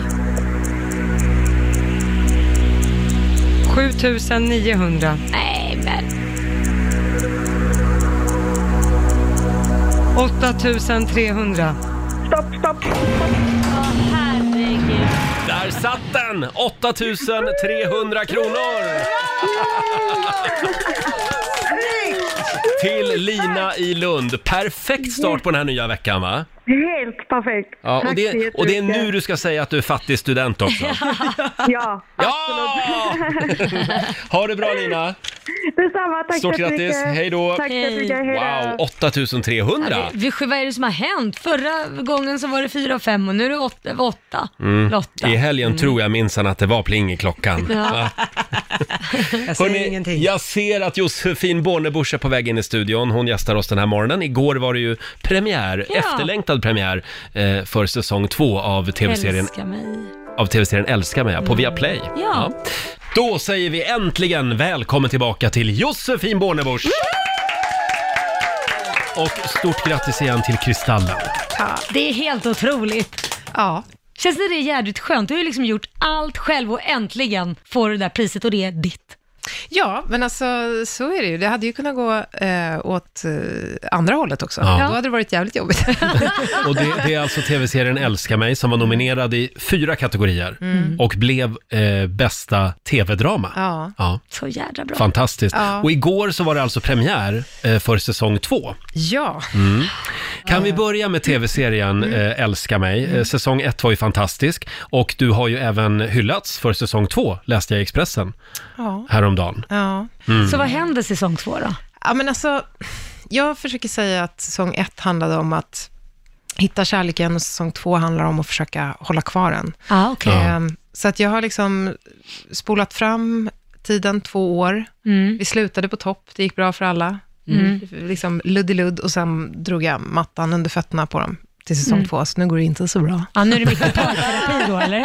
B: 7900.
D: Nej men.
B: 8300.
G: Stopp, stopp.
D: Åh herregud.
A: Där satt den! 8300 kronor! Till Lina i Lund. Perfekt start på den här nya veckan va?
G: Helt perfekt.
A: Ja, och,
G: Tack så
A: det,
G: jättemycket.
A: och det är nu du ska säga att du är fattig student också.
G: Ja,
A: Ja! Ha det bra Lina!
G: detsamma. Tack
A: Stort
G: så mycket.
A: grattis. Hej då.
G: Tack så
D: Hej.
G: mycket. Hej då.
A: Wow, 8300!
D: Vi, vad är det som har hänt? Förra gången så var det fyra och fem och nu är det åtta. åtta. Lotta.
A: I helgen tror jag minsann att det var pling i klockan.
D: Mm. Ja.
B: Jag säger
A: Hörrni,
B: ingenting.
A: jag ser att Josefin Bornebusch är på väg in i studion. Hon gästar oss den här morgonen. Igår var det ju premiär,
D: Ja.
A: efterlängtad premiär, eh, för säsong två av tv-serien
D: Älska mig. Mm.
A: av TV-serien Älska mig på Viaplay.
D: Ja.
A: Då säger vi äntligen välkommen tillbaka till Josefin Bornebusch! Och stort grattis igen till Kristallen.
D: Det är helt otroligt.
B: Ja.
D: Känns inte det jädrigt skönt? Du har ju liksom gjort allt själv och äntligen får du det där priset och det är ditt.
B: ja, men alltså så är det ju. Det hade ju kunnat gå eh, åt eh, andra hållet också.
A: Ja.
B: Då hade det varit jävligt jobbigt.
A: Och det, det är alltså tv-serien Älska mig som var nominerad i fyra kategorier och blev eh, bästa tv-drama.
B: Mm. Ja.
A: Ja,
D: Så jädra bra.
A: fantastiskt.
B: Ja.
A: Och igår så var det alltså premiär eh, för säsong två.
B: ja.
A: Kan vi börja med tv-serien
B: Mm.
A: eh, Älska mig? Eh, Säsong ett var ju fantastisk och du har ju även hyllats för säsong två, läste jag i Expressen
B: Ja.
A: häromdagen.
B: ja.
D: Så vad händer säsong två då?
B: Ja, men alltså, jag försöker säga att säsong ett handlade om att hitta kärleken och säsong två handlar om att försöka hålla kvar den.
D: Ah, okay.
B: Ehm, Så att jag har liksom spolat fram tiden två år.
D: Mm.
B: Vi slutade på topp, det gick bra för alla. Liksom luddiludd och sen drog jag mattan under fötterna på dem till säsong två, så nu går det inte så bra.
D: Ja, nu är det mycket parterapi då, eller?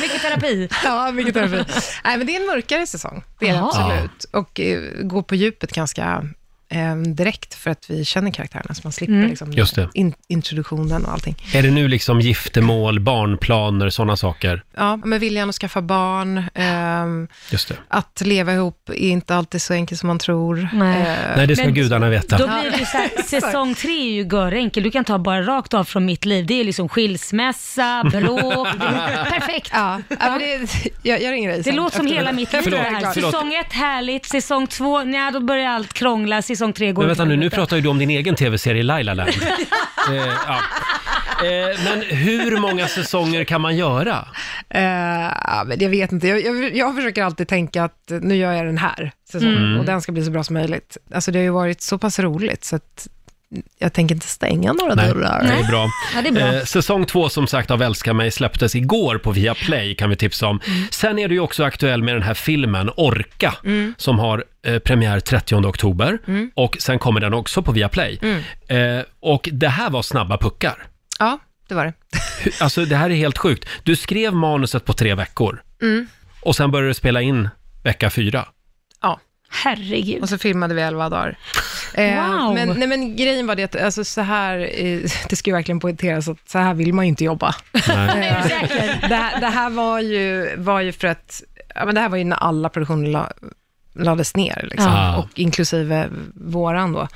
D: mycket terapi.
B: Ja, vilket är fint. Nej, men det är en mörkare säsong, det är det
D: Ja.
B: absolut. Och eh, går på djupet ganska eh, direkt, för att vi känner karaktärerna, så man slipper liksom
A: Just det.
B: In, introduktionen och allting.
A: Är det nu liksom giftermål, barnplaner, sådana saker?
B: Ja, med viljan att skaffa barn, ehm,
A: Just det.
B: att leva ihop är inte alltid så enkelt som man tror.
D: Nej.
B: Eh,
A: Nej, det ska
D: Men-
A: gudarna veta.
D: Då blir det ju så här, säsong tre är ju görenkel. Du kan ta bara rakt av från mitt liv. Det är liksom skilsmässa, bråk. Det är perfekt.
B: Ja, ja, men det, jag, jag ringer dig
D: Det
B: sen
D: låter som
B: efter
D: hela
B: det.
D: mitt liv
A: Förlåt,
D: det här.
A: förlåt.
D: Säsong ett härligt, säsong två, nej då börjar allt krångla, säsong tre går
A: Men vänta
D: åt
A: nu, nu
D: helvete.
A: pratar ju du om din egen tv-serie Laila Land. eh, ja. eh, men hur många säsonger kan man göra?
B: Eh, ja, men jag vet inte, jag, jag, jag försöker alltid tänka att eh, nu gör jag den här säsongen och den ska bli så bra som möjligt. Alltså det har ju varit så pass roligt så att jag tänker inte stänga några dörrar.
A: det är bra.
D: Ja, det är bra.
A: Eh, säsong två som sagt av Älska mig släpptes igår på Viaplay kan vi tipsa om.
D: Mm.
A: Sen är du ju också aktuell med den här filmen Orka
D: Mm.
A: som har eh, premiär 30 oktober och sen kommer den också på Viaplay.
D: Mm.
A: Eh, och det här var snabba puckar.
B: Ja, det var det.
A: Hur- Alltså det här är helt sjukt. Du skrev manuset på tre veckor
D: Mm.
A: och sen började du spela in vecka fyra.
B: Ja,
D: Herregud.
B: och så filmade vi elva dagar. Eh,
D: Wow.
B: men, nej, men grejen var det att alltså, så här, eh, det ska ju verkligen poängteras att så här vill man ju inte jobba.
D: Nej, är du säker?
B: det, här- det här var ju, var ju för att, ja, men det här var ju när alla produktioner la, lades ner, liksom,
A: Ja.
B: och inklusive våran då.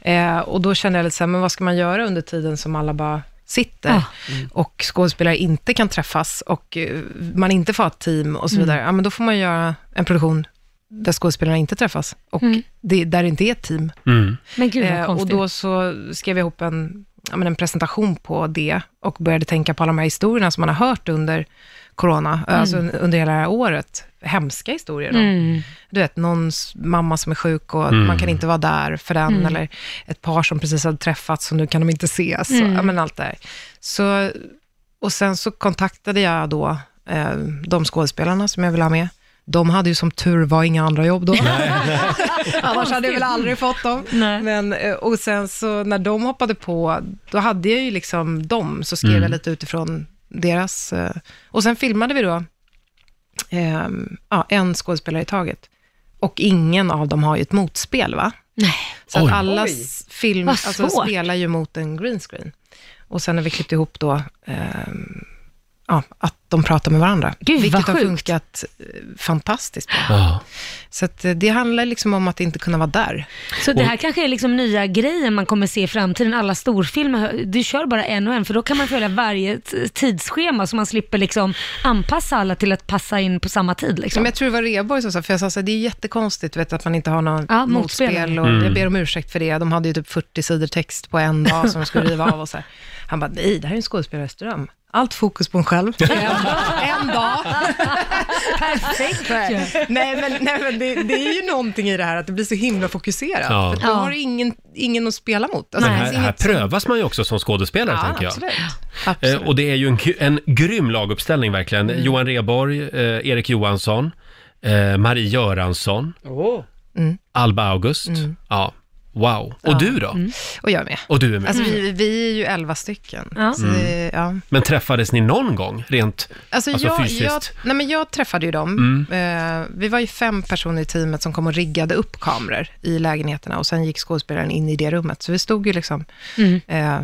B: Eh, och då kände jag lite så här, men vad ska man göra under tiden som alla bara sitter
D: Ja.
B: och skådespelare inte kan träffas och eh, man inte får ha ett team och så vidare. Ja, men då får man göra en produktion där skådespelarna inte träffas och det, där det inte är ett team.
D: Men gud vad
B: Eh, och
D: konstigt.
B: då så skrev jag ihop en, ja, men en presentation på det och började tänka på alla de här historierna som man har hört under corona, alltså
D: Mm.
B: un- under hela det här året. Hemska historier då. Du vet, någons mamma som är sjuk och att man kan inte vara där för den,
D: Mm.
B: eller ett par som precis hade träffats och nu kan de inte ses,
D: Mm.
B: och, ja, men allt det här. Så, och sen så kontaktade jag då eh, de skådespelarna som jag ville ha med. De hade ju som tur var inga andra jobb då. Annars hade jag väl aldrig fått dem.
D: Nej.
B: Men, eh, och sen så när de hoppade på, då hade jag ju liksom dem, så skrev
D: Mm.
B: jag lite utifrån deras... eh, Och sen filmade vi då eh, ja, en skådespelare i taget. Och ingen av dem har ju ett motspel, va?
D: Nej.
B: Så att
A: Oj.
B: alla s- film,
D: Vad
B: alltså,
D: svårt.
B: spelar ju mot en green screen. Och sen har vi klippt ihop då, ehm, ja, att de pratar med varandra.
D: Gud, vad
B: vilket har
D: sjukt.
B: funkat eh, fantastiskt bra.
A: Ja.
B: Så att eh, det handlar liksom om att inte kunna vara där.
D: Så det här kanske är liksom nya grejen man kommer se i framtiden, alla storfilmer. Du kör bara en och en, för då kan man följa varje t- tidsschema så man slipper liksom anpassa alla till att passa in på samma tid.
B: Ja, Men
D: Liksom.
B: jag tror det var Rheborg som sa, för jag sa så här, det är jättekonstigt vet, att man inte har någon
D: Ja, motspel.
B: motspel. Och Jag ber om ursäkt för det. De hade ju typ 40 sidor text på en dag som de skulle riva av. Och så här. Han bara, nej, det här är en skådespelares dröm. Allt fokus på en själv. en dag.
D: Perfekt ju.
B: nej, men, nej, men det, det är ju någonting i det här att det blir så himla fokuserat.
A: Ja.
B: För då
D: Ja.
B: har du ingen, ingen att spela mot. Alltså,
A: Men här,
B: det finns
A: här
B: inget-
A: prövas man ju också som skådespelare,
B: ja,
A: tänker jag.
B: absolut.
A: Eh,
B: absolut. Mm.
A: och det är ju en, gr- en grym laguppställning verkligen. Johan Rheborg, eh, Erik
B: Mm.
A: Johansson, eh, Marie Göransson, Alba August. Ja, Wow. Och du då?
B: Mm. Och jag är med.
A: Och du är med.
B: Alltså, vi, vi är ju elva stycken.
D: Ja.
B: Så det, ja.
A: Men träffades ni någon gång, rent
B: Alltså,
A: Alltså
B: jag,
A: fysiskt. Mm.
B: jag, nej men jag träffade ju dem. Eh, vi var ju fem personer i teamet som kom och riggade upp kameror i lägenheterna och sen gick skådespelaren in i det rummet. Så vi stod ju liksom
D: Mm.
B: eh,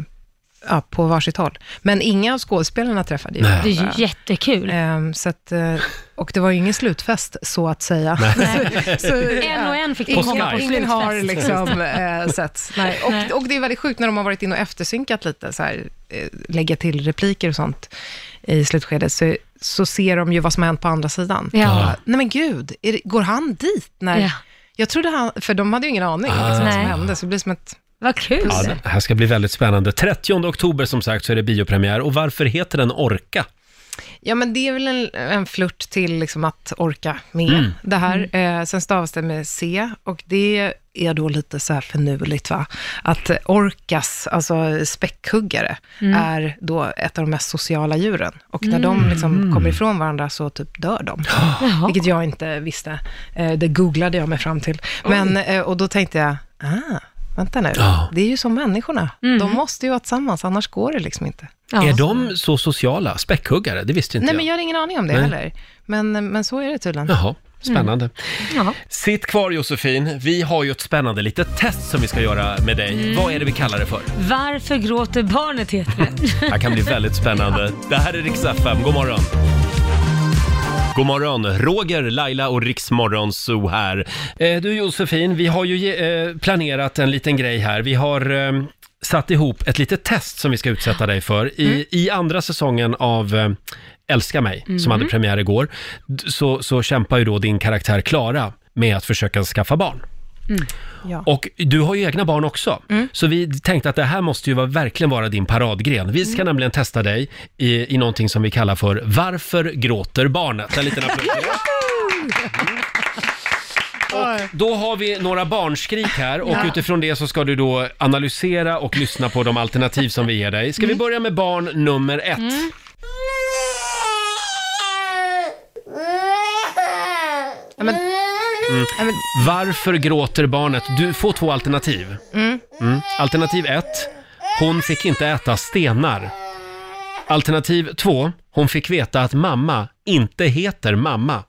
B: ja, på varsitt håll. Men inga av skådespelarna träffade ju
D: Det är ju
B: varandra.
D: jättekul.
B: Ehm, så att, eh, och det var ju ingen slutfest, så att säga. Så- så,
D: En och en fick
B: Ingen,
A: komma på
B: ingen har
D: slutfest.
B: liksom eh, sett. Nej.
D: Nej.
B: Och, och det är väldigt sjukt när de har varit inne och eftersynkat lite, så här, eh, lägga till repliker och sånt i slutskedet, så, så ser de ju vad som har hänt på andra sidan.
D: Ja.
B: Nej men gud, är det, går han dit? När,
D: Ja.
B: Jag trodde han, för de hade ju ingen aning liksom, vad som
D: Nej.
B: hände, så det blir som ett...
D: Vad kul.
A: Ja, det här ska bli väldigt spännande. 30 oktober som sagt så är det biopremiär. Och varför heter den Orka?
B: Ja, men det är väl en, en flört till liksom att orka med det här. Eh, sen stavas det med C och det är då lite så här finurligt, va? Att eh, orkas, alltså späckhuggare, är då ett av de mest sociala djuren. Och när de liksom kommer ifrån varandra så typ dör de. Vilket jag inte visste. Eh, det googlade jag mig fram till. Men, eh, och då tänkte jag, ah, vänta nu,
A: Ja.
B: det är ju som människorna. De måste ju vara tillsammans, annars går det liksom inte.
D: Ja.
A: Är de så sociala? Späckhuggare? Det visste inte
B: Nej,
A: jag.
B: men jag har ingen aning om det heller. Men, men så är det tydligen.
A: Jaha, spännande.
D: Ja.
A: Sitt kvar Josefin, vi har ju ett spännande litet test som vi ska göra med dig. Vad är det vi kallar det för?
D: Varför gråter barnet heter det.
A: Det här kan bli väldigt spännande. Det här är Rix FM, god morgon! God morgon, Roger, Laila och Riksmorgon Zoo här. Eh, du Josefin, vi har ju ge- eh, planerat en liten grej här. Vi har eh, satt ihop ett litet test som vi ska utsätta dig för. I, i andra säsongen av eh, Älska mig, som hade premiär igår, d- så, så kämpar ju då din karaktär Klara med att försöka skaffa barn.
B: Ja.
A: Och du har ju egna barn också. Så vi tänkte att det här måste ju vara, verkligen vara din paradgren. Vi ska nämligen testa dig i, i någonting som vi kallar för Varför gråter barnet? En liten applåd. Och då har vi några barnskrik här och utifrån det så ska du då analysera och lyssna på de alternativ som vi ger dig. Ska vi börja med barn nummer ett?
B: Ja, men,
A: Varför gråter barnet? Du får två alternativ. Mm. Alternativ 1. Hon fick inte äta stenar. Alternativ 2. Hon fick veta att mamma inte heter mamma.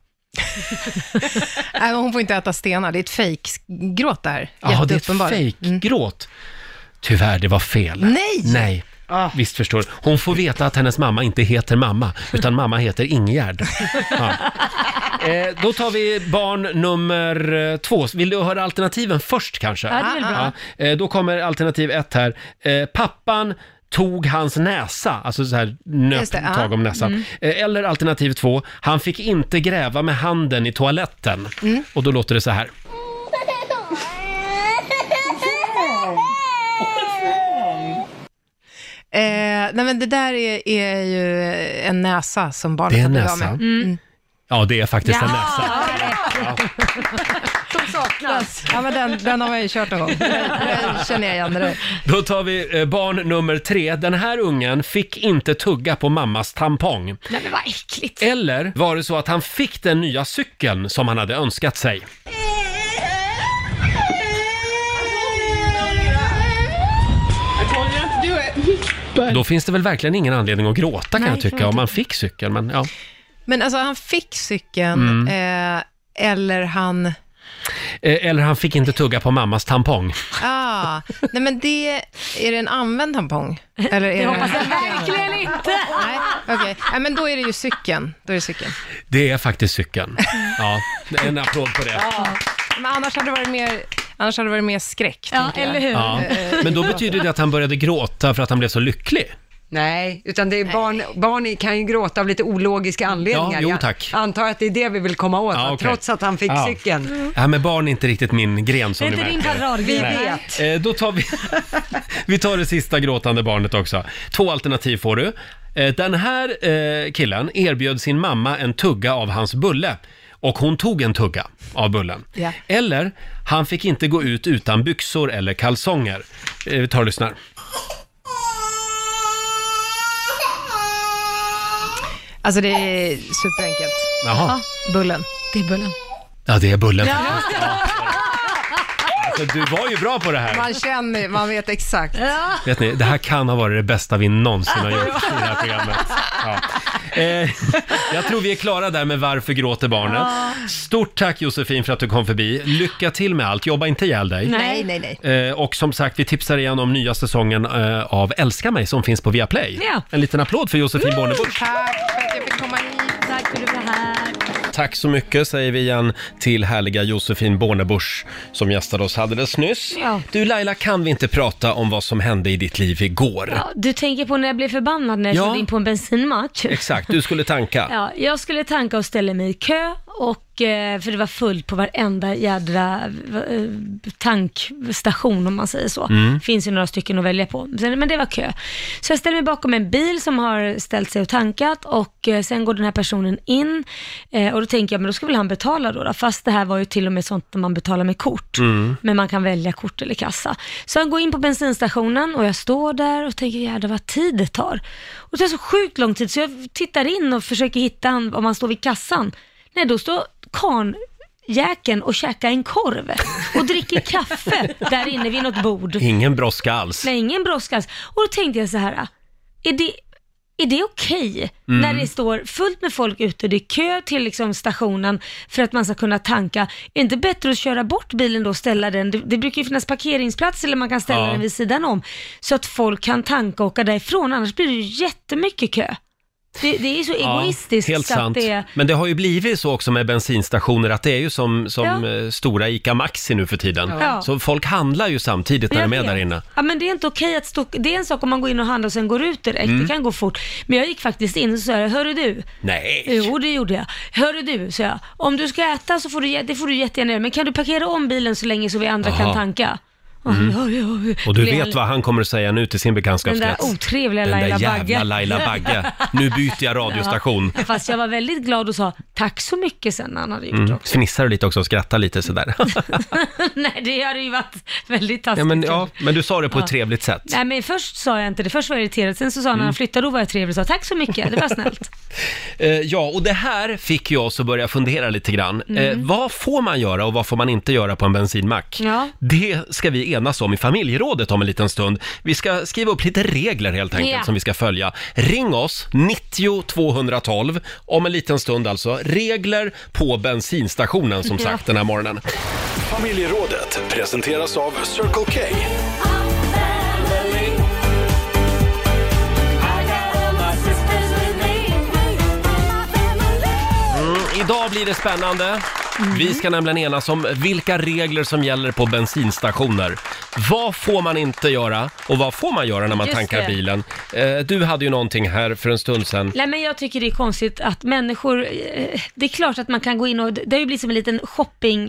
B: nej, hon får inte äta stenar. Det är ett fejkgråt det här.
A: Ja, det är
B: Jätteuppenbart.
A: ett fejkgråt. Tyvärr, det var fel.
B: Nej!
A: Nej. Visst förstår du. Hon får veta att hennes mamma inte heter mamma, utan mamma heter Ingegärd. Ja. Eh, då tar vi barn nummer eh, två. Vill du höra alternativen först kanske?
D: Ja, det är väl bra.
A: Ja, eh, då kommer alternativ ett här. Eh, Pappan tog hans näsa, alltså så här nöp
B: Just det, ja.
A: tag om näsan. Eh, Eller alternativ två, han fick inte gräva med handen i toaletten. Och då låter det så här.
B: Eh, nej, men det där är, är ju en näsa som barnet
A: Det är en
B: har blivit av
A: näsa.
B: med.
A: Ja, det är faktiskt en näsa.
D: Ja, det är det.
B: Ja, men den, den har man ju kört någon gång. Den känner jag igen. Det där.
A: Då tar vi eh, barn nummer tre. Den här ungen fick inte tugga på mammas tampong.
D: Nej men vad äckligt.
A: Eller var det så att han fick den nya cykeln som han hade önskat sig? Då finns det väl verkligen ingen anledning att gråta kan
D: Nej,
A: jag tycka, om man fick cykeln. Men, ja.
B: Men alltså, han fick cykeln,
A: Mm.
B: eh, eller han...
A: Eh, Eller han fick inte tugga på mammas tampong.
B: Ah, nej, men det... Är det en använd tampong? Eller är det
D: Hoppas jag verkligen inte.
B: Nej, okej. Nej, men då är det ju cykeln. Då är det cykeln.
A: Det är faktiskt cykeln. Ja, en applåd på det.
B: Men annars hade det varit mer, annars hade det varit mer skräck.
D: Ja,
B: tänker jag.
D: eller hur?
A: Ja. Men då betyder det att han började gråta för att han blev så lycklig.
H: Nej, utan det är barn, barn kan ju gråta av lite ologiska anledningar.
A: Ja, jo,
H: Jag
A: tack.
H: antar att det är det vi vill komma åt,
A: Ja,
H: va?
A: okej.
H: trots att han fick
A: Ja.
H: cykeln.
A: Det här med Äh, barn är inte riktigt min gren
D: Det
A: som
D: Mm. är
A: ni
D: inte din
A: märker.
H: Vi
D: paradgren. Nej.
H: vet.
A: Eh, då tar vi, vi tar det sista gråtande barnet också. Två alternativ får du. Eh, den här eh, killen erbjöd sin mamma en tugga av hans bulle och hon tog en tugga av bullen.
B: Ja.
A: Eller, han fick inte gå ut utan byxor eller kalsonger. Eh, vi tar och lyssnar.
B: Alltså det är superenkelt.
A: Jaha.
B: Bullen.
D: Det är bullen.
A: Ja, det är bullen faktiskt. Ja. Alltså, du var ju bra på det här.
I: Man känner, man vet exakt.
A: Vet ni, det här kan ha varit det bästa vi någonsin har gjort i det här programmet. Ja. Eh, jag tror vi är klara där med Varför gråter barnen? Stort tack Josefin för att du kom förbi. Lycka till med allt, jobba inte ihjäl dig.
D: Nej.
I: nej, nej.
A: Eh, och som sagt, vi tipsar igen om nya säsongen eh, av Älska mig som finns på Viaplay.
D: Ja. Mm.
A: En liten applåd för Josefin
I: Tack
A: Bornebusch.
I: för att jag fick komma hit.
D: Tack för att du var här.
A: Tack så mycket säger vi igen till härliga Josefin Bornebusch som gästade oss alldeles nyss.
D: Ja.
A: Du Laila, kan vi inte prata om vad som hände i ditt liv igår?
D: Ja, du tänker på när jag blev förbannad när jag
A: Ja.
D: körde in på en bensinmack.
A: Exakt, du skulle tanka.
D: Ja, jag skulle tanka och ställa mig i kö, och, eh, för det var fullt på varenda jädra eh, tankstation om man säger så. finns ju några stycken att välja på, Sen- men det var kö. Så jag ställer mig bakom en bil som har ställt sig och tankat och eh, sen går den här personen in eh, och då tänker jag, men då ska väl han betala då, då? Fast det här var ju till och med sånt när man betalar med kort, men man kan välja kort eller kassa. Så han går in på bensinstationen och jag står där och tänker, jädrar vad tid det tar. Och det tar så sjukt lång tid, så jag tittar in och försöker hitta han, om han står vid kassan. Nej, då står karn jäken och käkar en korv och dricker kaffe där inne vid något bord.
A: Ingen brådska alls.
D: Nej, ingen brådska alls. Och då tänkte jag så här, är det, är det okej
A: Mm.
D: när det står fullt med folk ute, det är kö till liksom stationen för att man ska kunna tanka. Är det inte bättre att köra bort bilen då och ställa den? Det, det brukar ju finnas parkeringsplatser eller man kan ställa
A: Ja.
D: den vid sidan om så att folk kan tanka och åka därifrån, annars blir det ju jättemycket kö. Det, det är så egoistiskt
A: helt
D: så
A: sant.
D: att det är...
A: Men det har ju blivit så också med bensinstationer att det är ju som, som
D: Ja.
A: eh, stora ICA Maxi nu för tiden.
D: Ja.
A: Så folk handlar ju samtidigt när
D: Jag
A: de är
D: vet.
A: där inne.
D: Ja, men det är inte okej att stå... Det är en sak om man går in och handlar och sen går ut direkt,
A: Mm.
D: det kan gå fort. Men jag gick faktiskt in och sa, hörru du,
A: Nej!
D: Jo, det gjorde jag. Hörru du, sa jag. Om du ska äta så får du, jä- det får du jättegärna göra, men kan du parkera om bilen så länge så vi andra
A: Jaha.
D: kan tanka? Mm. Ja, ja, ja.
A: Och du
D: Blev
A: vet
D: han-
A: vad han kommer att säga nu till sin
D: Den där
A: bekantskapskrets?
D: otrevliga
A: Den
D: Laila
A: där jävla
D: Bagge.
A: Laila Bagge. Nu byter jag radiostation.
D: Ja, Fast jag var väldigt glad och sa tack så mycket sen när han hade gjort det
A: Mm.
D: också.
A: Fnissar du lite också och skrattar lite sådär?
D: Nej, det hade ju varit väldigt taskigt.
A: ja, men, ja, men du sa det på ett
D: Ja.
A: trevligt sätt.
D: Nej, men först sa jag inte det. Först var jag irriterad, sen så sa han
A: Mm.
D: när han flyttade, då var jag trevlig och sa tack så mycket, det var snällt.
A: Eh, ja, och det här fick ju oss att börja fundera lite grann.
D: Mm.
A: Eh, vad får man göra och vad får man inte göra på en bensinmack?
D: Ja.
A: Det ska vi enas om i familjerådet om en liten stund. Vi ska skriva upp lite regler helt enkelt
D: Ja.
A: som vi ska följa. Ring oss, 90 212, om en liten stund alltså. Regler på bensinstationen som sagt den här morgonen.
C: Familjerådet presenteras av Circle K.
A: Mm, idag blir det spännande. Vi ska nämligen enas om vilka regler som gäller på bensinstationer. Vad får man inte göra och vad får man göra när man
D: Just
A: tankar
D: det.
A: bilen? Eh, du hade ju någonting här för en stund sedan.
D: Nej men jag tycker det är konstigt att människor, eh, det är klart att man kan gå in och, det har ju blivit som en liten shopping,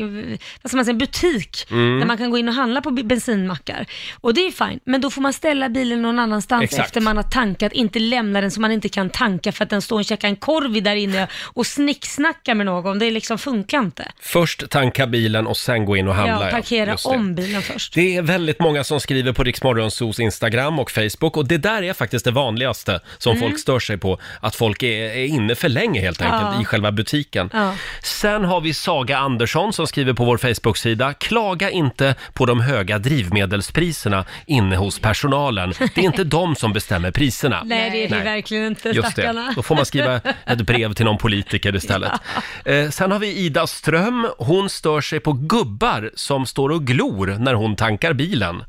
D: vad ska man säga, en butik,
A: Mm.
D: där man kan gå in och handla på b- bensinmackar. Och det är ju fint, men då får man ställa bilen någon annanstans
A: Exakt.
D: efter man har tankat, inte lämna den så man inte kan tanka för att den står och käkar en korv i där inne och snicksnackar med någon, det liksom funkar inte.
A: Först tanka bilen och sen gå in och handla.
D: ja, parkera
A: Just det.
D: om bilen först.
A: Det är väldigt många som skriver på Riksmorgonsos Instagram och Facebook och det där är faktiskt det vanligaste som folk stör sig på. Att folk är, är inne för länge helt enkelt
D: Mm. Ja.
A: i själva butiken.
D: Ja.
A: Sen har vi Saga Andersson som skriver på vår Facebook-sida. Klaga inte på de höga drivmedelspriserna inne hos personalen. Det är inte de som bestämmer priserna.
D: Nej, det är det
A: Nej.
D: verkligen inte,
A: Just
D: stackarna.
A: det, då får man skriva ett brev till någon politiker istället. Eh, sen har vi Ida Ström, hon stör sig på gubbar som står och glor när hon tankar bilen.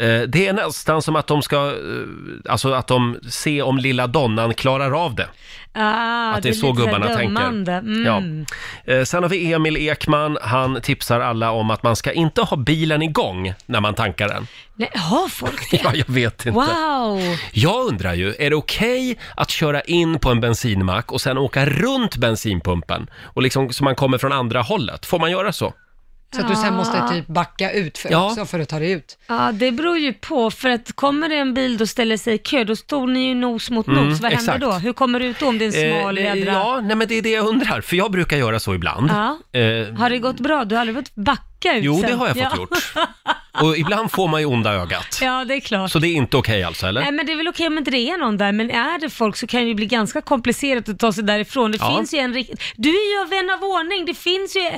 A: Eh, det är nästan som att de ska, eh, alltså att de ser om lilla donnan klarar av det.
D: Ah,
A: Att det är så
D: lite
A: gubbarna tänker.
D: dömande. Mm.
A: Ja. Eh, Sen har vi Emil Ekman, han tipsar alla om att man ska inte ha bilen igång när man tankar den.
D: Nej, har folk det?
A: Ja, jag vet inte.
D: Wow!
A: Jag undrar ju, är det okej att köra in på en bensinmack och sen åka runt bensinpumpen? Och liksom så man kommer från andra hållet. Får man göra så?
B: Så att du sen måste typ backa ut för,
A: Ja.
B: också för att ta dig ut.
D: Ja, det beror ju på, för att kommer det en bil och ställer sig i kö, då står ni ju nos mot nos. Vad
A: Mm, exakt.
D: händer då? Hur kommer du ut då om det är en smal
A: Eh,
D: jädra...
A: ja, nej men det är det jag undrar, för jag brukar göra så ibland.
D: Ja.
A: Eh,
D: Har det gått bra? Du har aldrig fått backa ut
A: jo,
D: sen?
A: det har jag fått
D: ja.
A: gjort. Och ibland får man ju onda ögat.
D: Ja, det är klart.
A: Så det är inte okej alltså, eller?
D: Nej men det är väl okej om inte det är någon där, men är det folk så kan det ju bli ganska komplicerat att ta sig därifrån. Det
A: Ja.
D: finns ju en riktning. Du är ju av vän av ordning, det finns ju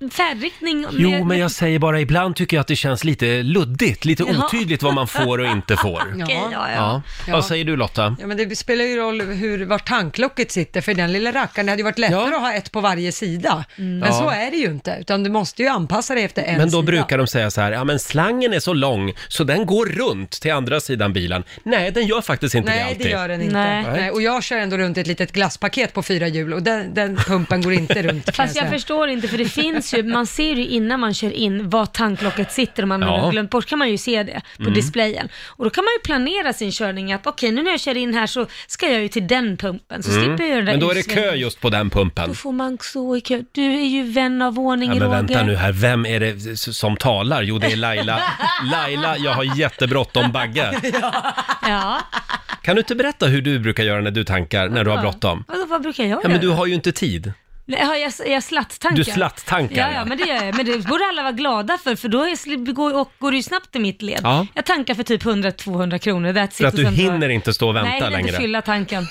D: en färdriktning. med-
A: Jo, men jag säger bara ibland tycker jag att det känns lite luddigt, lite
D: Ja.
A: otydligt vad man får och inte får.
D: Okej, ja, ja.
A: Ja. Vad säger du Lotta?
B: Ja, men det spelar ju roll hur, var tanklocket sitter för den lilla rackaren. Det hade ju varit lättare
A: Ja. Mm.
B: att ha ett på varje sida. Men
A: Ja.
B: så är det ju inte, utan du måste ju anpassa dig efter en
A: Men då
B: sida.
A: brukar de säga så här, ja men slangen är så lång så den går runt till andra sidan bilen. Nej, den gör faktiskt inte det
B: Nej,
A: alltid.
B: det gör den inte.
D: Nej.
B: Nej. och jag kör ändå runt ett litet glasspaket på fyra hjul och den, den pumpen går inte runt. kan
D: Fast jag
B: säga.
D: förstår inte, för det finns ju, man ser ju innan man kör in var tanklocket sitter om man
A: Ja. Mm.
D: har glömt bort, kan man ju se det på displayen. Och då kan man ju planera sin körning att okej, nu när jag kör in här så ska jag ju till den pumpen, så slipper jag göra den där
A: Mm. Men då är det
D: utsvängningen.
A: kö just på den pumpen.
D: Då får man stå i kö. Du är ju vän av ordning,
A: Ja, men
D: Roger.
A: vänta nu här, vem är det s- som talar? Jo, det är Laila. Laila, jag har jättebråttom Bagge.
D: Ja.
A: Kan du inte berätta hur du brukar göra när du tankar, när du har bråttom?
D: Vadå, vad brukar jag göra?
A: Ja, men du har ju inte tid.
D: Nej, har jag, jag slatt-tankar.
A: Du slatt-tankar,
D: Ja,
A: ja.
D: ja, men det gör jag. Men det borde alla vara glada för, för då är, sli- går, och, går det ju snabbt i mitt led.
A: Ja.
D: Jag tankar för typ 100-200 kronor. That's
A: För att du hinner inte stå och vänta
D: Nej, jag hinner
A: längre.
D: inte fylla tanken.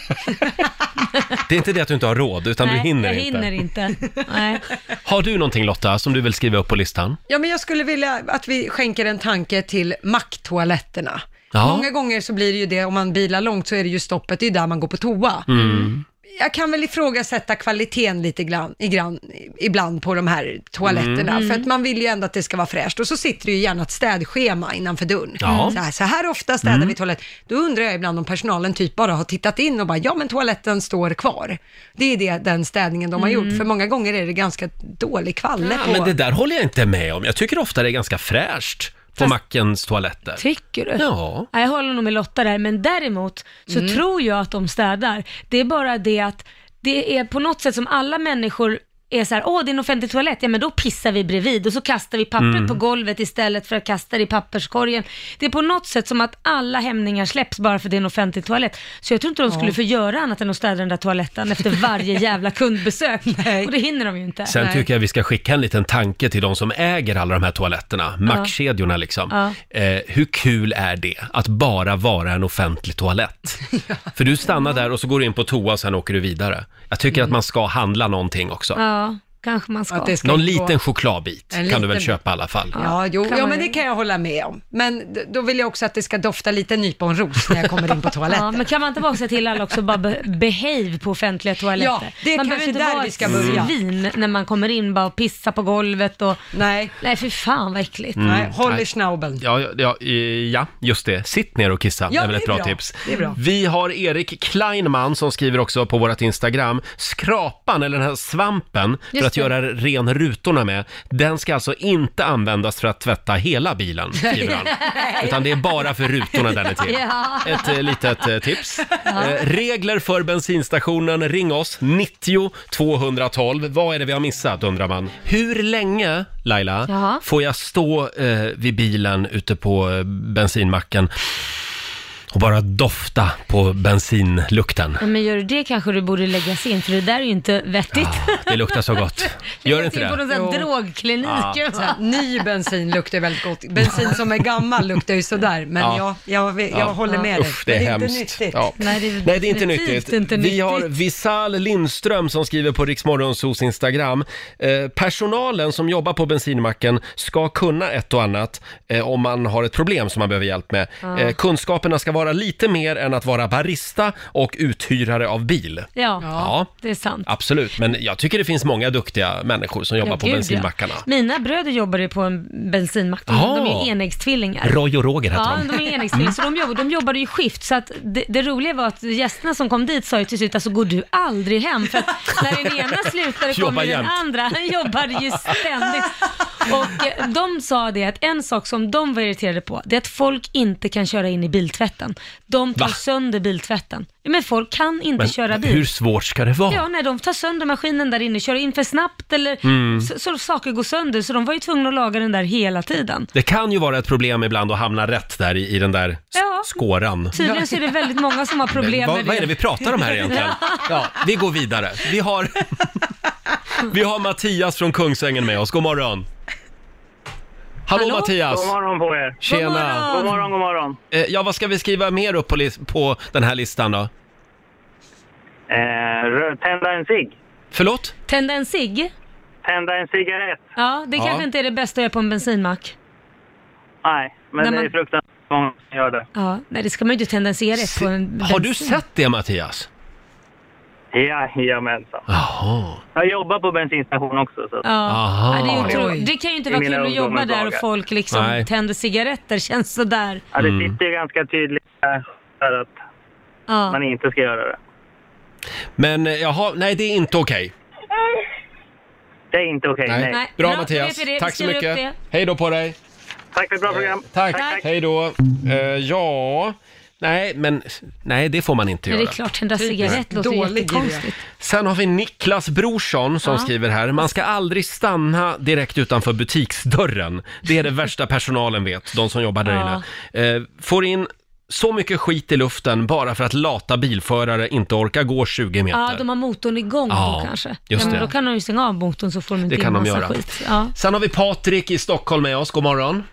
A: Det är inte det att du inte har råd, utan
D: Nej,
A: du hinner,
D: jag
A: inte.
D: hinner inte. Nej.
A: Har du någonting Lotta, som du vill skriva upp på listan?
B: Ja, men jag skulle vilja att vi skänker en tanke till macktoaletterna.
A: Ja.
B: Många gånger så blir det ju det, om man bilar långt så är det ju stoppet, det är ju där man går på toa.
A: Mm.
B: Jag kan väl ifrågasätta kvaliteten lite grann, i grann, ibland på de här toaletterna,
A: Mm.
B: för att man vill ju ändå att det ska vara fräscht. Och så sitter det ju gärna ett städschema innanför dörren.
A: Ja. Mm.
B: Så, här, så här ofta städar vi toalett. Då undrar jag ibland om personalen typ bara har tittat in och bara, ja men toaletten står kvar. Det är det, den städningen de har gjort, för många gånger är det ganska dålig kvalle på.
A: Mm. Men det där håller jag inte med om. Jag tycker ofta det är ganska fräscht på mackens toaletter.
D: Tycker du?
A: Ja.
D: Nej, Jag håller nog med Lotta där, men däremot så
B: Mm.
D: tror jag att de städar. Det är bara det att det är på något sätt som alla människor är så här, åh det är en offentlig toalett, ja men då pissar vi bredvid och så kastar vi pappret
B: Mm.
D: på golvet istället för att kasta det i papperskorgen. Det är på något sätt som att alla hämningar släpps bara för att det är en offentlig toalett. Så jag tror inte de skulle få göra annat än att städa den där toaletten efter varje jävla kundbesök.
B: Nej.
D: Och det hinner de ju inte.
A: Sen tycker jag vi ska skicka en liten tanke till de som äger alla de här toaletterna, mackkedjorna liksom. Eh, hur kul är det att bara vara en offentlig toalett? För du stannar där och så går du in på toa och sen åker du vidare. Jag tycker att man ska handla någonting också.
D: Ja, kanske man ska.
B: Att det Mm. ska
A: Någon
B: inte gå-
A: liten chokladbit
B: En
A: kan du
B: liten
A: väl
B: bit.
A: köpa i alla fall?
B: Ja, jo,
D: kan
B: ja
D: man
B: men
D: ju.
B: det kan jag hålla med om. Men d- då vill jag också att det ska dofta lite nyponros när jag kommer in på
D: Ja,
B: toaletten.
D: men kan man inte bara säga till alla också, bara be- behave på offentliga toaletter?
B: Ja, det är
D: man
B: kanske
D: behöver inte
B: där
D: vara
B: vi ska
D: ett
B: börja.
D: svin när man kommer in bara och pissa på golvet och...
B: Nej,
D: Nej, för fan vad äckligt.
B: nej, håll
A: Mm, nej.
B: i schnaubeln.
A: Ja, ja, ja, eh, ja, just det. Sitt ner och kissa
B: Ja,
A: är väl
B: det
A: ett
B: är
A: bra,
B: bra.
A: tips.
B: Det är bra.
A: Vi har Erik Kleinman som skriver också på vårt Instagram. Skrapan, eller den här svampen för
D: Just
A: att
D: det.
A: göra ren rutorna med, den ska alltså inte användas för att tvätta hela bilen, skriver han. Utan det är bara för rutorna den är till.
D: Ja.
A: Ett eh, litet eh, tips. Eh, regler för bensinstationen, ring oss, 90 212. Vad är det vi har missat undrar man. Hur länge, Laila,
D: Jaha.
A: får jag stå eh, vid bilen ute på eh, bensinmacken och bara dofta på bensinlukten?
D: Ja, men gör du det kanske du borde läggas in, för det där är ju inte vettigt.
A: Det luktar så gott. Gör inte
D: Läggas in på
A: det?
D: någon sån här
B: Jo.
D: drogklinik.
B: Så här, ny bensin luktar väldigt gott. Bensin som är gammal luktar ju sådär, men
A: Ja.
B: ja. jag, jag, jag håller med dig.
A: Usch, det är,
B: Men
A: hemskt.
B: inte nyttigt.
A: Ja.
D: Nej, det är
A: Nej, det är inte
D: definitivt
A: nyttigt.
D: inte
A: Vi
D: nyttigt.
A: har Visal Lindström som skriver på Riksmorgonsos Instagram. Eh, personalen som jobbar på bensinmacken ska kunna ett och annat eh, om man har ett problem som man behöver hjälp med. Eh, kunskaperna ska vara lite mer än att vara barista och uthyrare av bil.
D: Ja,
A: Ja.
D: det är sant.
A: Absolut, men jag tycker det finns många duktiga människor som jobbar på
D: gud,
A: bensinmackarna.
D: Mina bröder jobbar ju på en bensinmack. De,
A: Ja.
D: de är enäggstvillingar.
A: Roy och Roger heter
D: Ja,
A: de. Mm.
D: de är enäggstvillingar, så de, jobb, de jobbade ju skift. Så att det, det roliga var att gästerna som kom dit sa ju till slut, alltså går du aldrig hem? För att när den ena slutade
A: Jobbar
D: kom ju den
A: jämt.
D: andra, han jobbade ju ständigt. Och eh, de sa det att en sak som de var irriterade på, det är att folk inte kan köra in i biltvätten. De tar
A: Va?
D: sönder biltvätten. Men folk kan inte köra
A: Men
D: bil.
A: hur svårt ska det vara?
D: Ja, nej, de tar sönder maskinen där inne, kör in för snabbt eller
A: Mm.
D: så, så saker går sönder. Så de var ju tvungna att laga den där hela tiden.
A: Det kan ju vara ett problem ibland att hamna rätt där i, i den där s-
D: Ja.
A: skåran.
D: Tydligen så är det väldigt många som har problem
A: vad,
D: med
A: vad är det vi pratar om här egentligen? Ja, vi går vidare. Vi har, vi har Mattias från Kungsängen med oss. God morgon. Hallå,
D: Hallå?
A: Mattias!
F: God morgon på er.
A: Tjena!
D: morgon.
F: God morgon, god morgon.
A: Eh, ja, vad ska vi skriva mer upp på, lis- på den här listan då?
F: Eh, rö- tända en cigg.
A: Förlåt?
D: Tända en cigg?
F: Tända en cigarett.
D: Ja, det
A: Ja.
D: kanske inte är det bästa att göra på en bensinmack.
F: Nej, men
D: Nej,
F: det
D: men-
F: är fruktansvärt många som gör det.
D: Ja, nej det ska man ju inte tända en cigarett på en
A: Har du
D: bensin.
A: sett det Mattias?
F: Jajamensan.
A: Jaha.
F: Jag jobbar på bensinstation också. Så.
D: Ja.
A: Aha.
D: Ja, det, är otroligt. det kan ju inte
F: I
D: vara
F: mina
D: kul att jobba
F: ungdomens
D: där och
F: dagar.
D: folk liksom
A: Nej.
D: tänder cigaretter, känns sådär.
F: Ja, det sitter ju ganska tydligt där att
D: Ja.
F: man inte ska göra det.
A: Men eh, jaha, nej det är inte okej.
F: Det är inte okej. nej.
D: Nej.
A: Bra
D: Bra, då
A: Mattias,
D: vet vi det.
A: tack
D: Vi
A: så
D: skriver upp
A: mycket.
D: det.
A: Hej då på dig.
F: Tack för ett bra program.
A: Tack,
D: Tack.
A: hej då. Eh, ja, nej men nej det får man inte
D: Men det är
A: göra.
D: klart, tända cigarett låter
B: Dålig
D: jättekonstigt.
A: Sen har vi Niklas Brorsson som
D: Ja.
A: skriver här. Man ska aldrig stanna direkt utanför butiksdörren. Det är det värsta personalen vet, de som jobbar där
D: Ja.
A: inne. Eh, får in så mycket skit i luften bara för att lata bilförare inte orkar gå 20 meter.
D: Ja, de har motorn igång
A: Ja,
D: då kanske.
A: just
D: ja, men
A: det.
D: Då kan de ju stänga av motorn så får de inte
A: Det kan
D: in
A: de
D: massa
A: göra.
D: skit. Ja.
A: Sen har vi Patrik i Stockholm med oss. God morgon.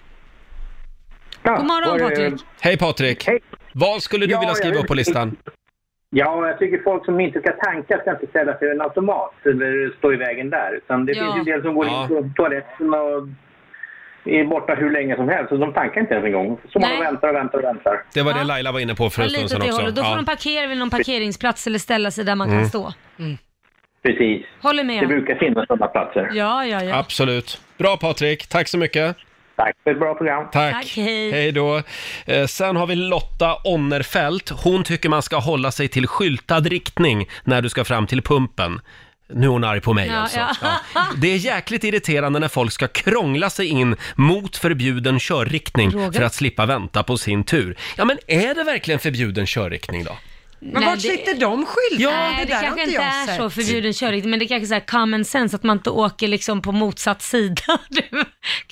D: God morgon Patrik.
A: Hej Patrik!
J: Hej.
A: Vad skulle du
J: Ja,
A: vilja
J: jag
A: skriva
J: vill-
A: upp på listan?
J: Ja, jag tycker folk som inte ska tanka ska inte ställa sig vid en automat eller stå i vägen där. Utan det
D: Ja.
J: finns ju en del som går
A: Ja.
J: in på toaletten och är borta hur länge som helst. Så de tankar inte ens en gång. Så man
D: Nej.
J: väntar och väntar och väntar.
A: Det var
D: Ja.
A: det Laila var inne på för
D: Ja,
A: en stund
D: lite åt
A: sedan
D: det
A: också.
D: hållet. Då får
A: Ja. Mm.
D: de parkera vid någon parkeringsplats eller ställa sig där man kan stå.
J: Precis.
D: Håller
J: Det
D: med.
J: brukar finnas sådana platser.
D: Ja, ja, ja.
A: Absolut. Bra Patrik, tack så mycket.
J: Tack för ett bra program.
A: Tack.
D: Tack, hej.
A: då. Eh, sen har vi Lotta Onnerfelt. Hon tycker man ska hålla sig till skyltad riktning när du ska fram till pumpen. Nu är hon arg på mig
D: Ja,
A: alltså.
D: ja.
A: Ja. Det är jäkligt irriterande när folk ska krångla sig in mot förbjuden körriktning
D: Roger?
A: för att slippa vänta på sin tur. Ja, men är det verkligen förbjuden körriktning då?
B: Men
D: Nej,
B: vart
D: det-
B: sitter de skyltarna?
D: Nej, det, kanske inte är så
B: sett.
D: förbjuden körriktning, men det kanske är så här common sense att man inte åker liksom på motsatt sida. Det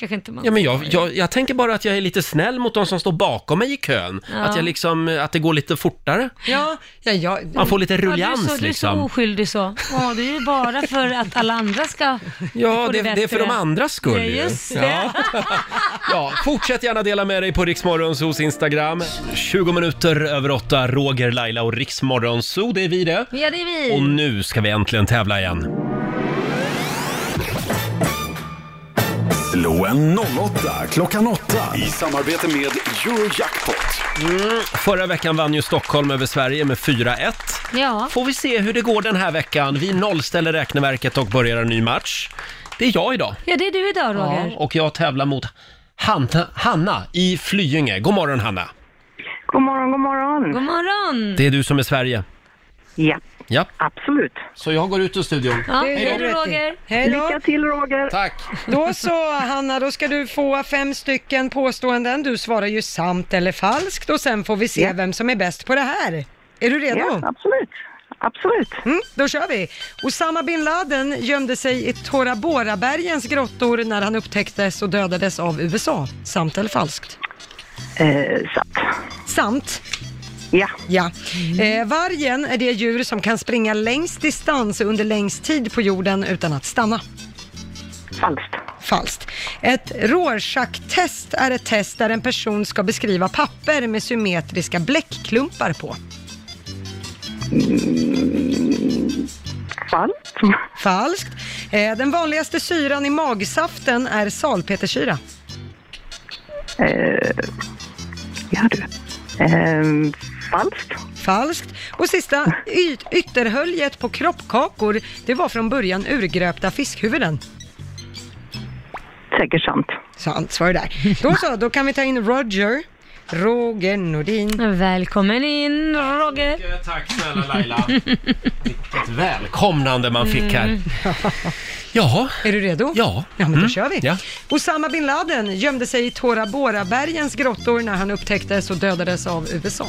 D: kanske inte man...
A: Ja, men jag, jag, jag tänker bara att jag är lite snäll mot de som står bakom mig i kön.
D: Ja.
A: Att, jag liksom, att det går lite fortare.
B: Ja, ja, jag-
A: Man får lite
D: Ja, du, är
A: ruljans
D: så, du är så
A: liksom.
D: oskyldig så. Ja, det är ju bara för att alla andra ska
A: Ja,
D: få
A: det, det är för
D: bättre.
A: de andras skull
D: Ja,
A: ju.
D: just det.
A: Ja. ja, fortsätt gärna dela med dig på Riksmorgonsos Instagram. 20 minuter över åtta, Roger, Laila och Riksmorgonso, det är vi det.
D: Ja, det är vi.
A: Och nu ska vi äntligen tävla igen.
C: Slå en 08 klockan 8 i
K: Samarbete med Eurojackpot.
A: Förra veckan vann ju Stockholm över Sverige med 4-1.
D: Ja.
A: Får vi se hur det går den här veckan. Vi nollställer räkneverket och börjar en ny match. Det är jag idag.
D: ja, det är du idag Roger.
A: Ja, och jag tävlar mot Hanna, Hanna i Flyinge. God morgon Hanna!
G: God morgon, god morgon.
D: God morgon!
A: Det är du som är Sverige.
G: Ja,
A: Ja,
G: absolut.
A: så jag går ut ur studion.
D: Ja,
B: Det är
D: hej då
B: rätt i.
D: Roger.
B: Hej då.
G: Lycka till Roger.
A: Tack!
B: Då så Hanna, då ska du få fem stycken påståenden. Du svarar ju sant eller falskt och sen får vi se vem som är bäst på det här. Är du redo?
G: Ja, absolut. Absolut.
B: Mm, då kör vi! Osama bin Laden gömde sig i Tora Bora-bergens grottor när han upptäcktes och dödades av USA. Sant eller falskt?
G: Eh, sant.
B: Sant.
G: Ja,
B: Ja. Eh, vargen är det djur som kan springa längst distans under längst tid på jorden utan att stanna.
G: falskt.
B: Falskt. Ett Rorschach-test är ett test där en person ska beskriva papper med symmetriska bläckklumpar på.
G: Falskt.
B: Falskt. Eh, den vanligaste syran i magsaften är salpetersyra.
G: Eh, ja du. Eh, falskt.
B: Falskt. Och sista, y- ytterhöljet på kroppkakor, det var från början urgröpta fiskhuvuden.
G: Säkert sant.
B: Sant svar där. Då så, då kan vi ta in Roger. Roger Nordin.
D: Välkommen in Roger.
A: Tack snälla Laila! Vilket välkomnande man fick här. Jaha,
B: Är du redo?
A: ja. Mm.
B: Ja, men då kör vi.
A: Ja.
B: Osama bin Laden gömde sig i Tora Bora-bergens grottor när han upptäcktes och dödades av USA.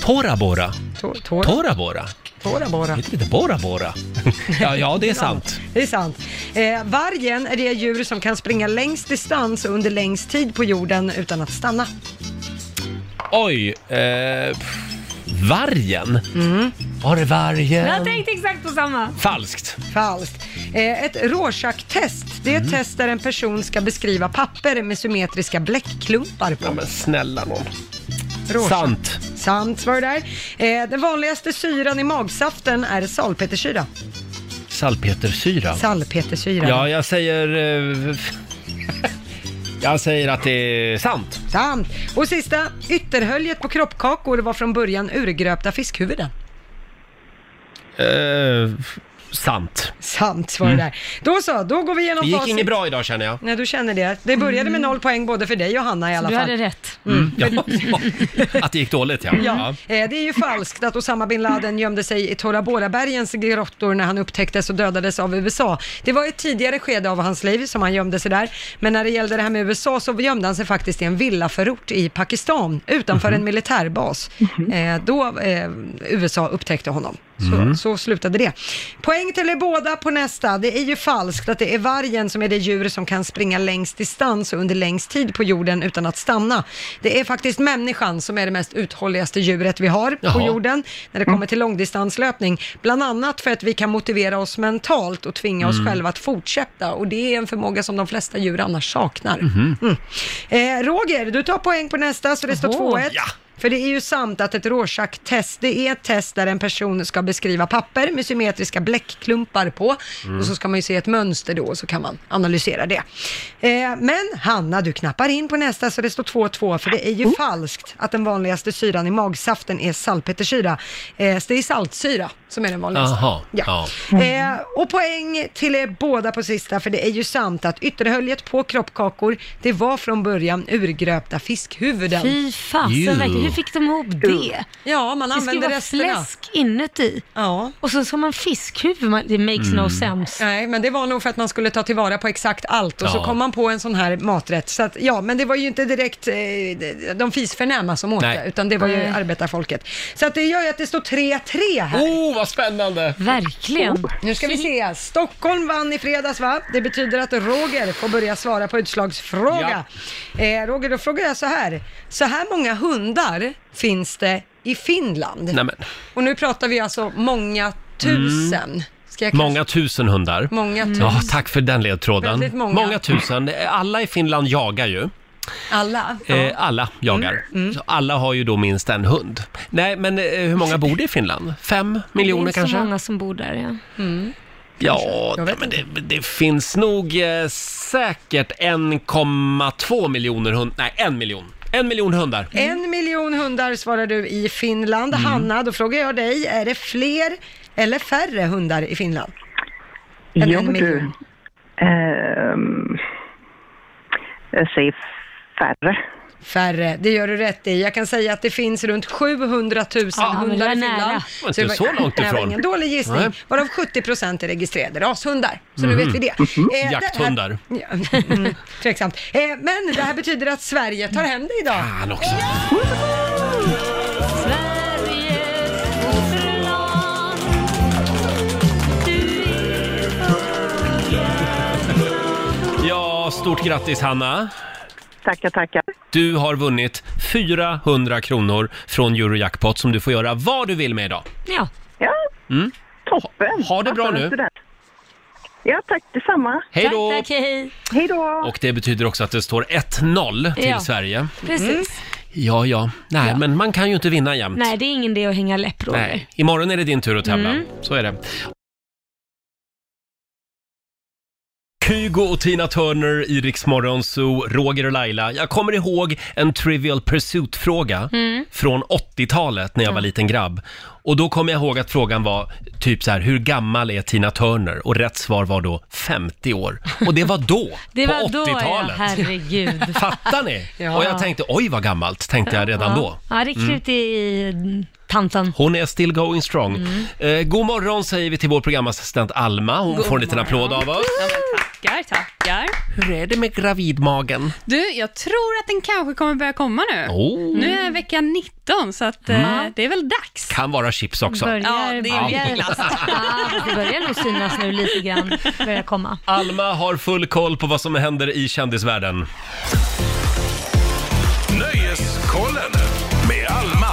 A: Tora Bora.
B: Tor, tor,
A: Tora Bora.
B: tora Bora.
A: Heter det inte Bora Bora? Ja, ja, det är sant.
B: Det är sant. Eh, vargen är det djur som kan springa längst distans och under längst tid på jorden utan att stanna.
A: Oj, eh, pff, vargen? Var är vargen?
D: Jag tänkte exakt på samma.
A: Falskt.
B: Falskt. Eh, ett Rorschach-test, det är
A: Mm.
B: ett test där en person ska beskriva papper med symmetriska bläckklumpar på.
A: Ja, men snälla nån.
B: Rorschach.
A: Sant.
B: Sant var det där. Eh, den vanligaste syran i magsaften är salpetersyra.
A: Salpetersyra.
B: Salpetersyra.
A: Ja, jag säger... eh, jag säger att det är sant.
B: Sant. Och sista, ytterhöljet på kroppkakor var från början urgröpta fiskhuvuden.
A: Eh, sant.
B: Sant var det där. Då så, då går vi igenom
A: Mm. Det gick
B: facit.
A: inget bra idag känner jag.
B: Nej, du känner det. Det började med noll poäng både för dig och Hanna i alla
D: Mm. Du
B: fall.
D: hade rätt.
A: Ja, att det gick dåligt ja.
B: Ja. Eh, Det är ju falskt att Osama bin Laden gömde sig i Tora Bora-bergens grottor när han upptäcktes och dödades av USA. Det var ett tidigare skede av hans liv som han gömde sig där, men när det gällde det här med USA så gömde han sig faktiskt i en villaförort i Pakistan
D: Mhm.
B: utanför en militärbas. Eh, Då eh, USA upptäckte honom. Så, så slutade det. Poäng till er båda på nästa. Det är ju falskt att det är vargen som är det djur som kan springa längst distans och under längst tid på jorden utan att stanna. Det är faktiskt människan som är det mest uthålligaste djuret vi har på
A: Jaha.
B: jorden när det kommer till långdistanslöpning. Bland annat för att vi kan motivera oss mentalt och tvinga oss själva att fortsätta och det är en förmåga som de flesta djur annars saknar. Mm. Eh, Roger, du tar poäng på nästa så det står
D: Oho.
B: 2-1.
A: Ja.
B: För det är ju sant att ett Rorschach-test, det är ett test där en person ska beskriva papper med symmetriska bläckklumpar på. Och så ska man ju se ett mönster då, och så kan man analysera det. Eh, men Hanna, du knappar in på nästa så det står 2-2, för det är ju falskt att den vanligaste syran i magsaften är salpetersyra. Eh, så det är saltsyra som är den vanligaste.
A: Aha,
B: Ja. Eh, och poäng till er båda på sista, för det är ju sant att ytterhöljet på kroppkakor, det var från början urgröpta fiskhuvuden.
D: Fy
A: Ew.
D: fasen, verkligen. Hur fick de ihop det?
B: Ja, man
D: Det skulle
B: använder
D: vara
B: resterna.
D: fläsk inuti.
B: Ja.
D: Och så ska man fiskhuvud. man- Det makes
L: Mm.
D: no sense.
B: Nej, men det var nog för att man skulle ta tillvara på exakt allt och så
A: Ja.
B: kom man på en sån här maträtt. Så att, ja, men det var ju inte direkt eh, de- de fisförnäma som åt
A: Nej.
B: det, utan det var ju
D: Nej.
B: arbetarfolket. Så att det gör ju att det står 3-3 här.
A: Oh, vad spännande!
D: Verkligen.
B: Oh, Nu ska vi se. Stockholm vann i fredags va? Det betyder att Roger får börja svara på utslagsfråga. Eh, Roger, då frågar jag så här. Så här många hundar finns det i Finland?
A: Nej, men,
B: Och nu pratar vi alltså många tusen. Ska jag kanske-
A: Mm. många tusen hundar.
B: Många tusen.
A: Ja, tack för den ledtråden.
B: Väldigt många.
A: tusen. Alla i Finland jagar ju.
B: Alla?
A: Eh, alla jagar. Så alla har ju då minst en hund. Nej, men eh, hur många bor det i Finland? Fem miljoner
D: Det är inte
A: kanske?
D: så många som bor där. Ja.
A: Ja,
B: Jag vet
A: men det, det finns nog eh, säkert 1,2 miljoner hund... Nej, en miljon. En miljon hundar.
B: En miljon hundar svarar du i Finland.
A: Mm.
B: Hanna, då frågar jag dig, är det fler eller färre hundar i Finland? Än
G: Jo,
B: en miljon.
G: du. Ehm, jag säger färre.
B: Färre, det gör du rätt i. Jag kan säga att det finns runt 700 000
D: men det
B: hundar
D: var
B: i Finland.
D: nära.
A: Det var inte så långt
B: Nej, det var
A: ifrån.
B: ingen dålig gissning.
A: Nej. Mhm.
B: Varav 70 procent är registrerade rashundar. Så nu vet vi det. Eh, det här-
A: Jakthundar.
B: Ja, mm, Tveksamt. Eh, men det här betyder att Sverige tar hem det idag.
A: Fan också.
D: Sveriges fosterland. Du är
A: Ja, stort grattis Hanna.
G: Tackar, tackar.
A: Du har vunnit 400 kronor från Eurojackpot som du får göra vad du vill med idag.
D: Ja,
G: Ja, toppen.
A: Mm. Ha det bra
G: Alltså,
A: nu.
G: det där. Ja, tack detsamma.
A: Hej
D: tack,
A: då!
D: tack, hej.
G: Hej då.
A: Och det betyder också att det står 1-0 till
D: Ja.
A: Sverige.
D: Precis.
L: Mm.
A: Ja, ja. Nej, men man kan ju inte vinna jämt.
D: Nej, det är ingen idé att hänga läpp, Roger.
A: Nej. Imorgon är det din tur att tävla.
D: Mm.
A: Så är det. Kygo och Tina Turner i Rix Morgon Zoo, Roger och Laila. Jag kommer ihåg en Trivial Pursuit-fråga
D: Mm.
A: från 80-talet när jag var liten grabb. Och då kommer jag ihåg att frågan var typ så här, hur gammal är Tina Turner? Och rätt svar var då 50 år. Och det var då,
D: Det
A: på
D: var då, ja,
A: 80-talet.
D: herregud.
A: Fattar ni?
B: Ja.
A: Och jag tänkte, oj vad gammalt, tänkte jag redan då.
D: Ja, Ja, det krut i mm, tanten.
A: Hon är still going strong.
L: Mm.
A: Eh, god morgon säger vi till vår programassistent Alma. Hon får en liten applåd av oss.
L: Tackar, tackar.
A: Hur är det med gravidmagen?
L: Du, jag tror att den kanske kommer börja komma nu.
A: Oh,
L: Nu är vecka 19, så att, eh, det är väl dags.
A: kan vara chips också.
D: Börjar,
L: Ja, det är
D: börjar,
L: glass.
D: ja, det börjar nog synas nu lite grann. Börjar komma.
A: Alma har full koll på vad som händer i kändisvärlden.
C: Nöjeskollen med Alma.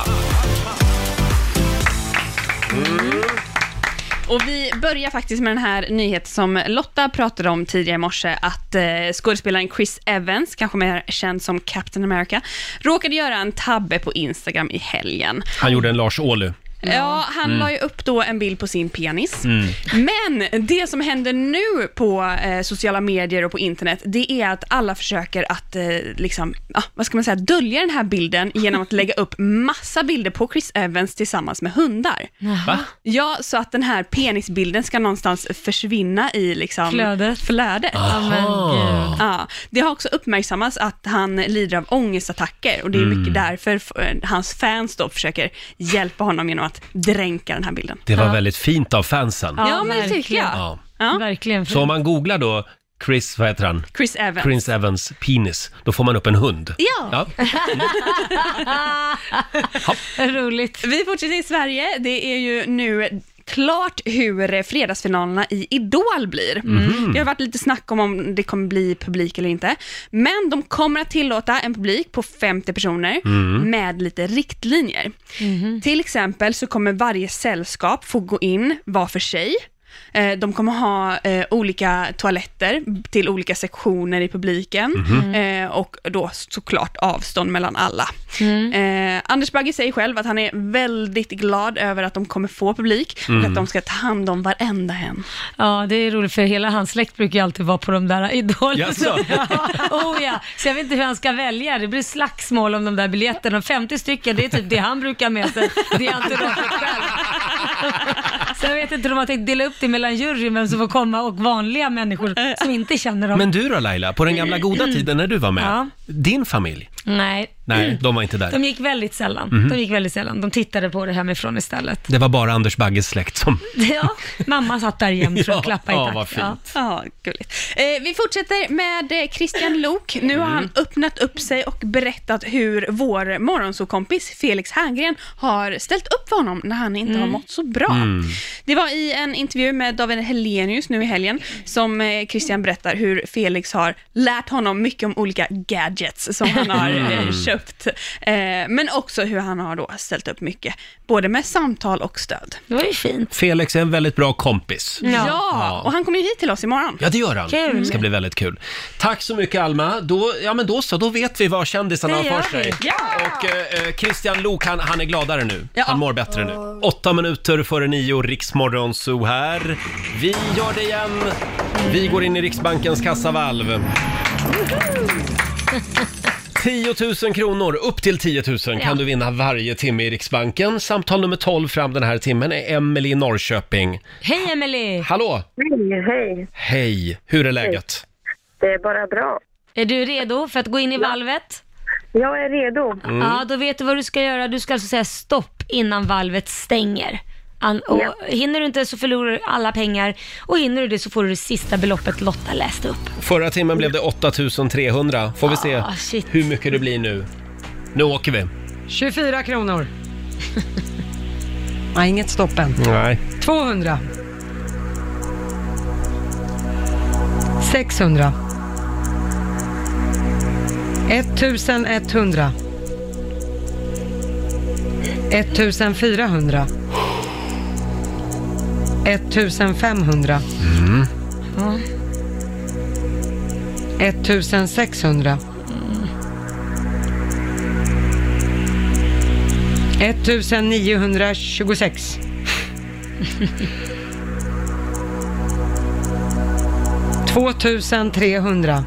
L: Och vi börjar faktiskt med den här nyheten som Lotta pratade om tidigare i morse, att eh, skådespelaren Chris Evans, kanske mer känd som Captain America, råkade göra en tabbe på Instagram i helgen.
A: Han gjorde en Lars Ohly.
L: Ja, han
A: Mm.
L: la ju upp då en bild på sin penis.
A: Mm.
L: Men det som händer nu på eh, sociala medier och på internet, det är att alla försöker att, eh, liksom, ah, vad ska man säga, dölja den här bilden genom att lägga upp massa bilder på Chris Evans tillsammans med hundar.
A: Va?
L: Ja, så att den här penisbilden ska någonstans försvinna i liksom
D: Flödet.
L: flödet.
D: Ja, men Aha. gud.
L: Ja, det har också uppmärksammats att han lider av ångestattacker och det är
A: Mm.
L: mycket därför f- hans fans då försöker hjälpa honom genom att dränka den här bilden.
A: Det var väldigt fint av fansen.
L: Ja, men det tycker jag.
A: Ja.
D: Verkligen.
A: Så om man googlar då Chris, vad heter han?
L: Chris Evans.
A: Chris Evans penis, då får man upp en hund.
L: Ja.
D: Roligt.
L: Vi fortsätter i Sverige. Det är ju nu klart hur fredagsfinalerna i Idol blir.
M: Mhm.
L: Det har varit lite snack om om det kommer bli publik eller inte. Men de kommer att tillåta en publik på 50 personer
M: Mm.
L: med lite riktlinjer. Till exempel så kommer varje sällskap få gå in var för sig. Eh, De kommer ha eh, olika toaletter till olika sektioner i publiken
M: Mhm.
L: eh, och då såklart avstånd mellan alla. Eh, Anders Bagge säger själv att han är väldigt glad över att de kommer få publik och
D: Mm.
L: att de ska ta hand om varenda en.
D: Ja, det är roligt för hela hans släkt brukar ju alltid vara på de där idolerna.
L: Jaså?
D: Ja, oh ja. Så jag vet inte hur han ska välja. Det blir slagsmål om de där biljetterna. 50 stycken, det är typ det han brukar ha med sig. Det är alltid de själv. Så jag vet inte om de har tänkt dela upp det mellan juryn, vem som får komma och vanliga människor som inte känner dem.
A: Men du då Laila, på den gamla goda tiden när du var med,
D: Mm. Ja.
A: din familj?
D: Nej.
A: Nej, de var inte där.
D: De gick väldigt sällan.
A: Mhm.
D: De gick väldigt sällan. De tittade på det hemifrån istället.
A: Det var bara Anders Bagges släkt som...
D: Ja, mamma satt där jämt och klappade i
A: ja,
D: takt.
A: vad fint.
L: Ja, gulligt. Eh, vi fortsätter med eh, Christian Lok. Nu har han öppnat upp sig och berättat hur vår morgonsåkompis Felix Herngren har ställt upp för honom när han inte har mått så bra.
M: Mm.
L: Det var i en intervju med David Hellenius nu i helgen som eh, Christian berättar hur Felix har lärt honom mycket om olika gadgets som han har eh,
M: Mm.
L: köpt. Eh, men också hur han har då ställt upp mycket, både med samtal och stöd.
D: Det var ju fint.
A: Felix är en väldigt bra kompis.
L: Ja, och han kommer ju hit till oss imorgon.
A: Ja, det gör han.
L: Kul.
A: Det ska bli väldigt kul. Tack så mycket Alma. Då, ja, men då så, då vet vi vad kändisarna har för sig. Och eh, eh, Christian Lok, han, han är gladare nu. Han mår bättre nu. Åtta minuter före nio, Riksmorgon Zoo här. Vi gör det igen. Vi går in i Riksbankens kassavalv. 10 000 kronor, upp till 10 000 kan
M: Ja.
A: du vinna varje timme i Riksbanken. Samtal nummer 12 fram den här timmen är Emelie i Norrköping.
D: Hej Emelie!
A: Hallå!
D: Hej, hej!
A: Hej, hur är läget?
D: Det är bara bra. Är du redo för att gå in i valvet? Jag är redo.
A: Mm.
D: Ja, då vet du vad du ska göra. Du ska alltså säga stopp innan valvet stänger. An- och
M: Ja.
D: Hinner du inte så förlorar du alla pengar och hinner du det så får du det sista beloppet Lotta läste upp.
A: Förra timmen blev det 8300. Får vi se
D: Ah, shit.
A: hur mycket det blir nu. Nu åker vi.
B: 24 kronor. Nej, inget stopp än.
A: Nej.
B: 200. 600. 1100. 1400. 1500.
M: Mm.
D: Ja.
B: 1600. 1926. 2300.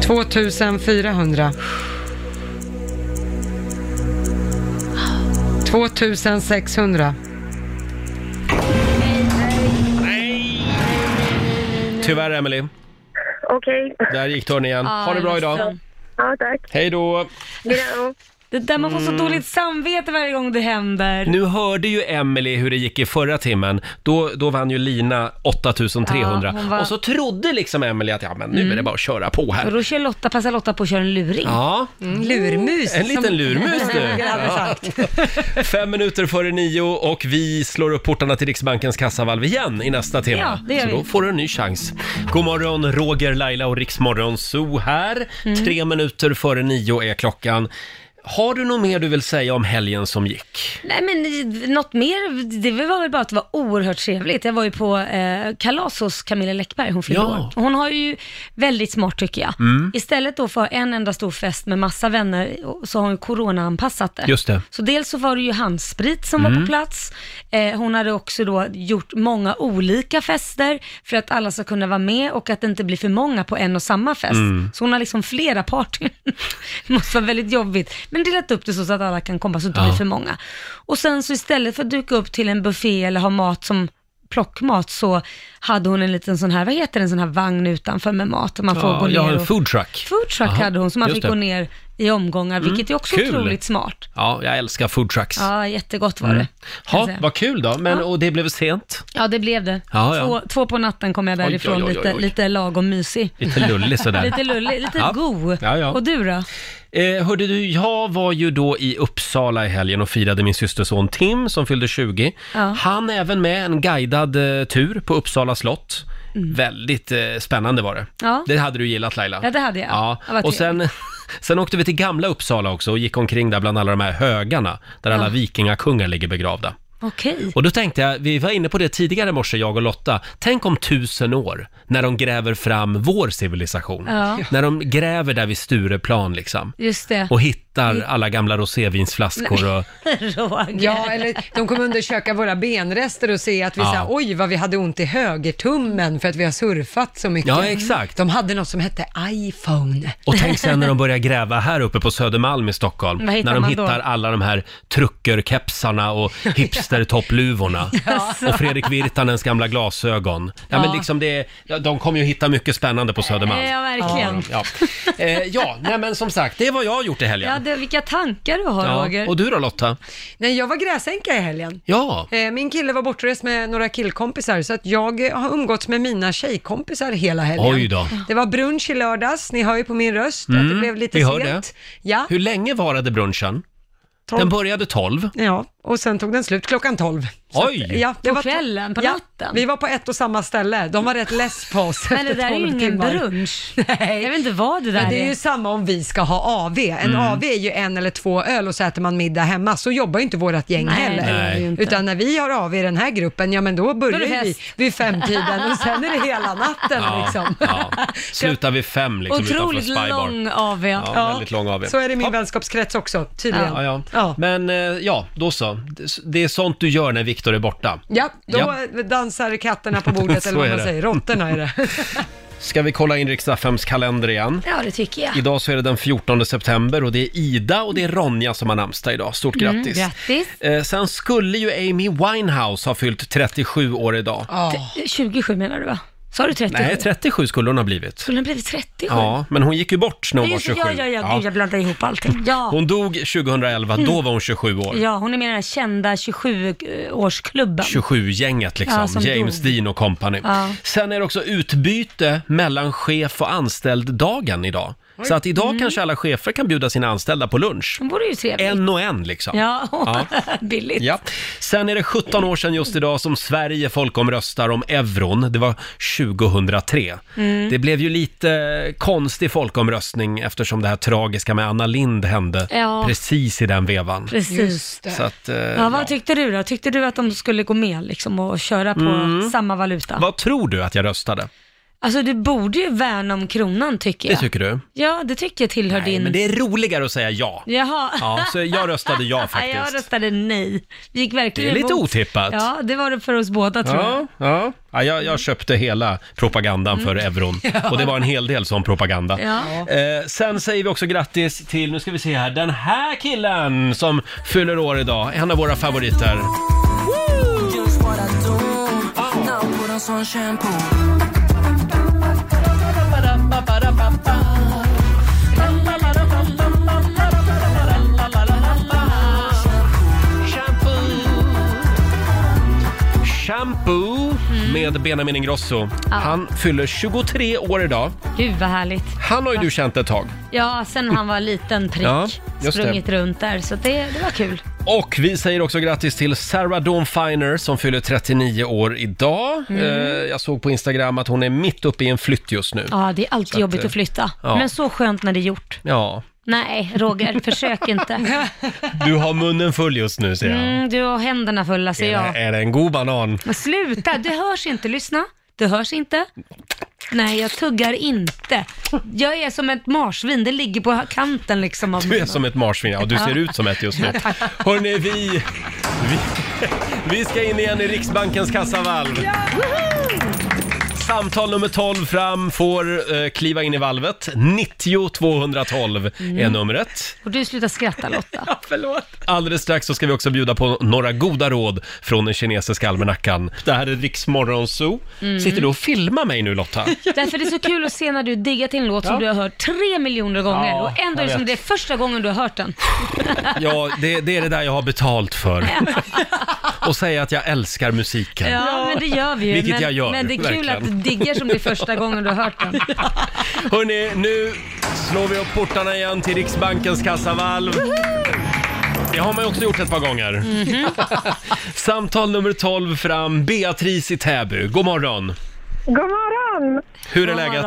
B: 2400. 2600.
A: Tyvärr, Emily.
G: Okej.
A: Där gick dörren igen.
D: Ah,
A: Ha det bra idag.
G: Ja, tack.
A: Hej då!
D: Det där man får så
A: Mm.
D: dåligt samvete varje gång det händer.
A: Nu hörde ju Emily hur det gick i förra timmen. Då, då vann ju Lina 8300.
D: Ja, hon var-
A: Och så trodde liksom Emily att ja, men nu
D: Mm.
A: är det bara att köra på
D: Och
A: här.
D: då kör Lotta, passar Lotta på att köra en luring.
A: Ja.
D: Mm,
B: Lurmus.
A: En liten lurmus du. Ja. Fem minuter före nio och vi slår upp portarna till Riksbankens kassavalv igen i nästa timme.
M: Ja, det gör
A: Så
M: vi.
A: då får du en ny chans. God morgon, Roger, Laila och Riksmorgon Zoo här.
M: Mm.
A: Tre minuter före nio är klockan. Har du något mer du vill säga om helgen som gick?
D: Nej men eh, något mer, det var väl bara att det var oerhört trevligt. Jag var ju på eh, kalas hos Camilla Läckberg, hon fyllde
A: Ja.
D: år. Och Hon har ju väldigt smart tycker jag.
A: Mm.
D: Istället då för en enda stor fest med massa vänner så har hon corona-anpassat det.
A: Just det.
D: Så dels så var det ju handsprit som var
A: Mm.
D: på plats. Eh, hon hade också då gjort många olika fester för att alla ska kunna vara med och att det inte blir för många på en och samma fest.
M: Mm.
D: Så hon har liksom flera partyn. det måste vara väldigt jobbigt. Men delat upp det så att alla kan komma så att det inte
M: Ja.
D: blir för många. Och sen så istället för att duka upp till en buffé eller ha mat som plockmat så hade hon en liten sån här, vad heter det, en sån här vagn utanför med mat. där Man får
A: Ja,
D: gå ner
A: jag har en
D: och-
A: food truck.
D: Food truck
A: Aha,
D: hade hon, så man
A: just
D: fick
A: det.
D: gå ner i omgångar,
A: Mm,
D: vilket är också
A: kul.
D: otroligt smart.
A: Ja, jag älskar food trucks.
D: Ja, jättegott var
A: Mm.
D: det. kan jag
A: Ja,
D: säga.
A: vad kul då. Men,
D: Ja.
A: Och det blev sent.
D: Ja, det blev det.
A: Ja, ja.
D: Två, två på natten kom jag
A: oj,
D: därifrån,
A: oj, oj,
D: Lite,
A: oj.
D: lite lagom mysig.
A: Lite lullig sådär.
D: lite lullig, lite
A: Ja.
D: god.
A: Ja, ja.
D: Och du då?
A: Eh, hörde du, jag var ju då i Uppsala i helgen och firade min systerson Tim som fyllde 20.
D: Ja.
A: Han är även med en guidad eh, tur på Uppsala slott.
D: Mm.
A: Väldigt eh, spännande var det.
D: Ja.
A: Det hade du gillat Laila.
D: Ja, det hade jag.
A: Ja.
D: Det var
A: Och sen, sen åkte vi till gamla Uppsala också och gick omkring där bland alla de här högarna där alla
D: Ja.
A: vikingakungar ligger begravda.
D: Okej.
A: Och då tänkte jag, vi var inne på det tidigare i morse, jag och Lotta. Tänk om tusen år, när de gräver fram vår civilisation.
D: Ja.
A: När de gräver där vid Stureplan liksom.
D: Just det.
A: Och hittar alla gamla rosévinsflaskor och...
D: Roger.
B: Ja, eller de kommer undersöka våra benrester och se att vi
A: Ja.
B: sa oj vad vi hade ont i högertummen för att vi har surfat så mycket.
A: Ja, exakt.
B: De hade något som hette iPhone.
A: Och tänk sen när de börjar gräva här uppe på Södermalm i Stockholm.
B: Vad hittar
A: När de
B: man då?
A: hittar alla de här truckerkepsarna och hipstertoppluvorna. Och Fredrik Virtanens gamla glasögon. Ja,
D: Ja.
A: men liksom det, är- ja, de kommer ju hitta mycket spännande på Södermalm.
B: Eh,
D: Ja, verkligen.
A: Ja, ja. Eh, ja nej, men som sagt, det är vad jag har gjort i helgen.
D: Ja, det, vilka tankar du har Roger.
A: Och du då Lotta?
B: Nej, jag var gräsänka i helgen.
A: Ja.
B: Eh, Min kille var bortrest med några killkompisar så att jag eh, har umgåtts med mina tjejkompisar hela helgen.
A: Oj då.
B: Det var brunch i lördags, ni hör ju på min röst att det
A: Mm,
B: blev lite
A: vi hör
B: sent.
A: det.
B: Ja.
A: Hur länge varade brunchen?
B: Tolv.
A: Den började 12.
B: Ja, och sen tog den slut klockan 12. Så
A: Oj.
B: att, Ja,
D: På kvällen, på natten?
B: Vi var på ett och samma ställe. De var rätt less på oss
D: Men
B: efter
D: det där är ju
B: 12
D: ingen
B: timmar.
D: brunch. Nej. Jag vet inte vad det där
B: Men det är
D: är.
B: ju samma om vi ska ha AV. En
D: Mm.
B: AV är ju en eller två öl och så äter man middag hemma. Så jobbar ju inte vårt gäng
D: Nej, det
B: heller.
D: gör det ju inte.
B: Utan när vi har AV i den här gruppen, ja men då börjar
D: Då är det
B: ju vi
D: fest.
B: vid femtiden och sen är det hela natten
A: Ja,
B: liksom.
A: ja. Slutar vid fem liksom
B: Otroligt
A: utanför Spy Bar.
B: lång
D: AV.
A: Ja, väldigt lång AV.
B: Så är det i min vänskapskrets också, tydligen.
A: Ja, ja. Men eh, ja, då så. Det- Det är sånt du gör när Viktor är borta.
B: Ja, då
A: Ja.
B: dansar katterna på bordet
A: Så
B: eller vad
A: är
B: man
A: det.
B: säger. Råttorna är det.
A: Ska vi kolla in riksdagsfems kalender igen?
D: Ja, det tycker jag.
A: Idag så är det den 14 september och det är Ida och det är Ronja som har namnsdag idag. Stort grattis!
D: Mm, grattis.
A: Eh, sen skulle ju Amy Winehouse ha fyllt 37 år idag.
D: T- 27 menar du va? Sa du 37?
A: Nej, 37 skulle hon ha blivit.
D: Skulle den blivit 37?
A: Ja, men hon gick ju bort när hon
D: Ja,
A: var
D: just det.
A: 27.
D: Ja, ja, ja, gud jag blandar ihop allting. Ja.
A: Hon dog 2011, då
D: Mm.
A: var hon 27 år.
D: Ja, hon är med i den här kända 27-årsklubben.
A: 27-gänget
D: Ja,
A: liksom,
D: som
A: James
D: dog.
A: Dean och company.
D: Ja.
A: Sen är det också utbyte mellan chef och anställd-dagen idag.
D: Oj.
A: Så att idag
D: Mm.
A: kanske alla chefer kan bjuda sina anställda på lunch.
D: Det vore ju trevligt.
A: En och en liksom.
D: Ja,
A: Ja.
D: billigt.
A: Ja. Sen är det 17 år sedan just idag som Sverige folkomröstar om euron. Det var 2003.
D: Mm.
A: Det blev ju lite konstig folkomröstning eftersom det här tragiska med Anna Lind hände
D: Ja.
A: precis i den vevan.
D: Precis. Just det.
A: Så att, eh,
D: Ja, vad tyckte du då? Tyckte du att de skulle gå med liksom och köra på
A: Mm.
D: samma valuta?
A: Vad tror du att jag röstade?
D: Alltså du borde ju värna om kronan tycker jag.
A: Det tycker du?
D: Ja, det tycker jag tillhör din...
A: Men det är roligare att säga ja.
D: Jaha.
A: Ja, så jag röstade ja faktiskt.
D: Jag röstade nej. Vi gick verkligen
A: Det är lite
D: emot.
A: otippat.
D: Ja, det var det för oss båda tror
A: Ja,
D: jag. Mm.
A: ja. ja jag, jag köpte hela propagandan för euron och det var en hel del sån propaganda.
D: Ja.
A: Eh, sen säger vi också grattis till, nu ska vi se här, den här killen som fyller år idag, en av våra favoriter. Shampoo med Benjamin Ingrosso.
D: Mhm. Ja.
A: Han fyller 23 år idag.
D: Gud vad härligt.
A: Han har ju du känt ett tag.
D: Ja, sen han var liten prick.
A: Ja, just det.
D: sprungit runt där, så det, det var kul.
A: Och vi säger också grattis till Sarah Dawn Finer som fyller 39 år idag.
D: Mm.
A: Eh, jag såg på Instagram att hon är mitt uppe i en flytt just nu.
D: Ja, det är alltid
A: Så att,
D: jobbigt
A: eh,
D: att flytta.
A: ja.
D: Men så skönt när det är gjort.
A: Ja,
D: Nej, Roger, försök inte.
A: Du har munnen full just nu, ser jag.
D: Mm, du har händerna fulla,
A: Är
D: säger jag.
A: det, är det en god banan?
D: Men sluta, det hörs inte. Lyssna. Det hörs inte. Nej, jag tuggar inte. Jag är som ett marsvin, det ligger på kanten liksom av
A: Du är som ett marsvin, ja du ser ut som ett just nu. Hörni, vi, vi, vi ska in igen i Riksbankens kassavalv. Samtal nummer 12 fram får eh, kliva in i valvet. 90 212 är
D: Mm.
A: numret.
D: Och du slutar skratta Lotta. ja,
A: förlåt. Alldeles strax så ska vi också bjuda på några goda råd från den kinesiska almanackan. Det här är Riksmorgon Zoo.
D: Mm.
A: Sitter du och filmar mig nu Lotta?
D: Därför är det så kul att se när du diggar till en låt
A: Ja.
D: som du har hört tre miljoner gånger
A: Ja,
D: och ändå är
A: jag
D: det som
A: vet.
D: det är första gången du har hört den.
A: Ja, det, det är det där jag har betalt för. Och säga att jag älskar musiken.
D: Ja, men det gör vi ju.
A: Vilket
D: men,
A: jag gör,
D: Men det är kul
A: verkligen.
D: att du diggar som det är första gången du har hört den.
A: Hörni, nu slår vi upp portarna igen till Riksbankens kassavalv. Det har man ju också gjort ett par gånger. Samtal nummer 12 fram, Beatrice i Täby. God morgon!
M: God morgon!
A: Hur är läget?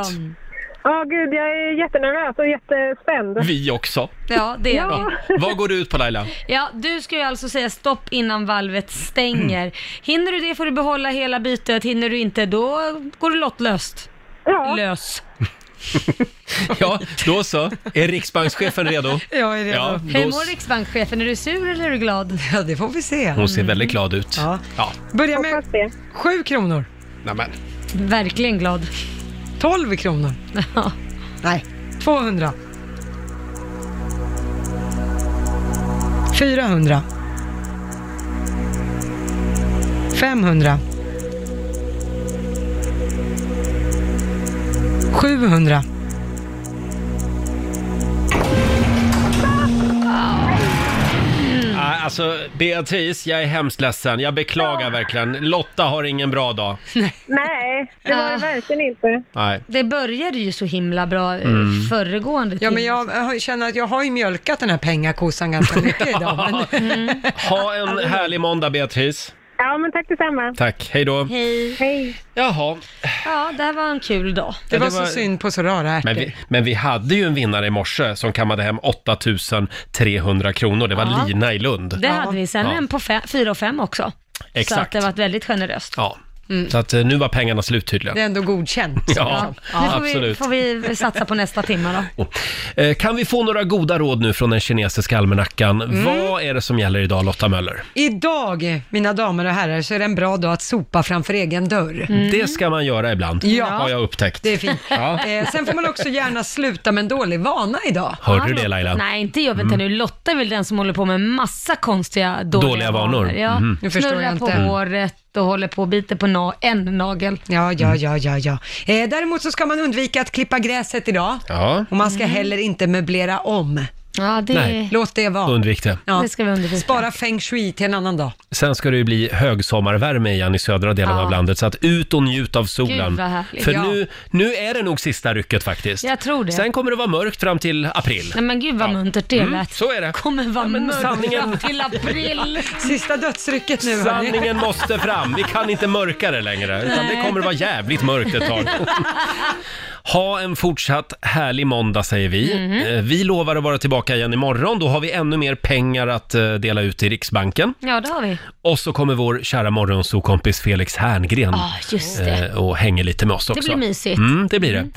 M: Ja, gud, jag är jättenervös och jättespänd.
A: Vi också.
D: Ja, det är vi.
A: Vad går du ut på Laila?
D: Ja, du ska ju alltså säga stopp innan valvet stänger. Hinner du det får du behålla hela bytet, hinner du inte då går du lottlöst.
M: Ja.
D: Lös.
A: Ja, då så. Är riksbankschefen redo?
D: Jag är
A: redo. Ja,
D: Hur
A: då-
D: mår riksbankschefen? Är du sur eller är du glad?
B: Ja, det får vi se.
A: Hon ser väldigt glad ut.
B: Ja.
A: ja.
B: Börja med sju kronor.
A: Nämen.
D: Verkligen glad.
B: 12 kronor. Nej, 200. 400. 500. 700.
A: Ah, Alltså, Beatrice, jag är hemskt ledsen. Jag beklagar verkligen. Lotta har ingen bra dag.
M: Nej, det var det verkligen inte.
A: Nej.
D: Det började ju så himla bra eh,
A: Mm.
D: föregående
B: Ja,
D: timme.
B: men jag har- känner att jag har ju mjölkat den här pengakosan ganska mycket idag. Men...
A: Ha en härlig måndag, Beatrice.
M: Ja, men tack detsamma.
A: Tack, hej då.
D: Hej.
M: Hej.
A: Jaha.
D: Ja, det här var en kul dag.
A: Det var så var- synd
B: på så rara
A: Men vi, men vi hade ju en vinnare i morse som kammade hem 8300 kronor. Det var
D: Ja.
A: Lina i Lund.
D: Det hade vi. Sen
A: Ja.
D: en på fe- fyra och fem också. Så
A: Exakt.
D: att det var väldigt generöst.
A: Ja.
D: Mm.
A: Så att eh, nu var pengarna slut tydligen.
B: Det är ändå godkänt.
A: Ja,
D: Nu får vi,
A: absolut.
D: får vi satsa på nästa timme då.
A: Eh, Kan vi få några goda råd nu från den kinesiska almanackan?
D: Mm.
A: Vad är det som gäller idag, Lotta Möller?
B: Idag, mina damer och herrar, så är det en bra dag att sopa framför egen dörr.
D: Mm.
A: Det ska man göra ibland,
B: Ja.
A: har jag upptäckt.
B: Det är fint.
A: Ja.
B: Eh, sen får man också gärna sluta med en dålig vana idag.
A: Hörde du det, Laila? Mm.
D: Nej, inte jag. Vänta nu. Lotta är väl den som håller på med massa konstiga dåliga,
A: Dåliga vanor.
D: Ja.
A: Mhm.
B: Nu förstår
D: Snurrar
B: jag
D: på
B: inte.
D: håret och håller på och biter på na- en nagel.
B: Ja,
A: Mm.
B: ja, ja, ja, ja. Eh, däremot så ska man undvika att klippa gräset idag.
A: Ja.
B: Och man ska heller inte möblera om.
D: Ja, det...
A: Nej.
B: Låt det vara.
A: Undvik det.
B: Ja.
D: Det ska vi undvika.
B: Spara feng shui till en annan dag.
A: Sen ska det ju bli högsommarvärme igen i södra delen
B: Ja.
A: av landet, så att ut och njut av solen.
D: Gud, vad härligt.
A: För
D: Ja.
A: nu, nu är det nog sista rycket faktiskt.
D: Jag tror det.
A: Sen kommer det vara mörkt fram till april.
D: Nej men gud vad muntert det
A: Mm,
D: lät.
A: så är det.
D: Kommer vara mörkt
A: sanningen-
D: fram till april.
B: Sista dödsrycket nu. hörni.
A: Sanningen måste fram, vi kan inte mörka det längre, utan det
D: Nej.
A: kommer vara jävligt mörkt ett tag. Ha en fortsatt härlig måndag säger vi.
D: Mhm.
A: Eh, Vi lovar att vara tillbaka igen imorgon, då har vi ännu mer pengar att eh, dela ut till Riksbanken.
D: Ja det har vi.
A: Och så kommer vår kära morgonsokompis Felix Herngren
D: Ah, just det.
A: eh, och hänger lite med oss
D: Det
A: också.
D: blir mysigt.
A: Mm, det blir det.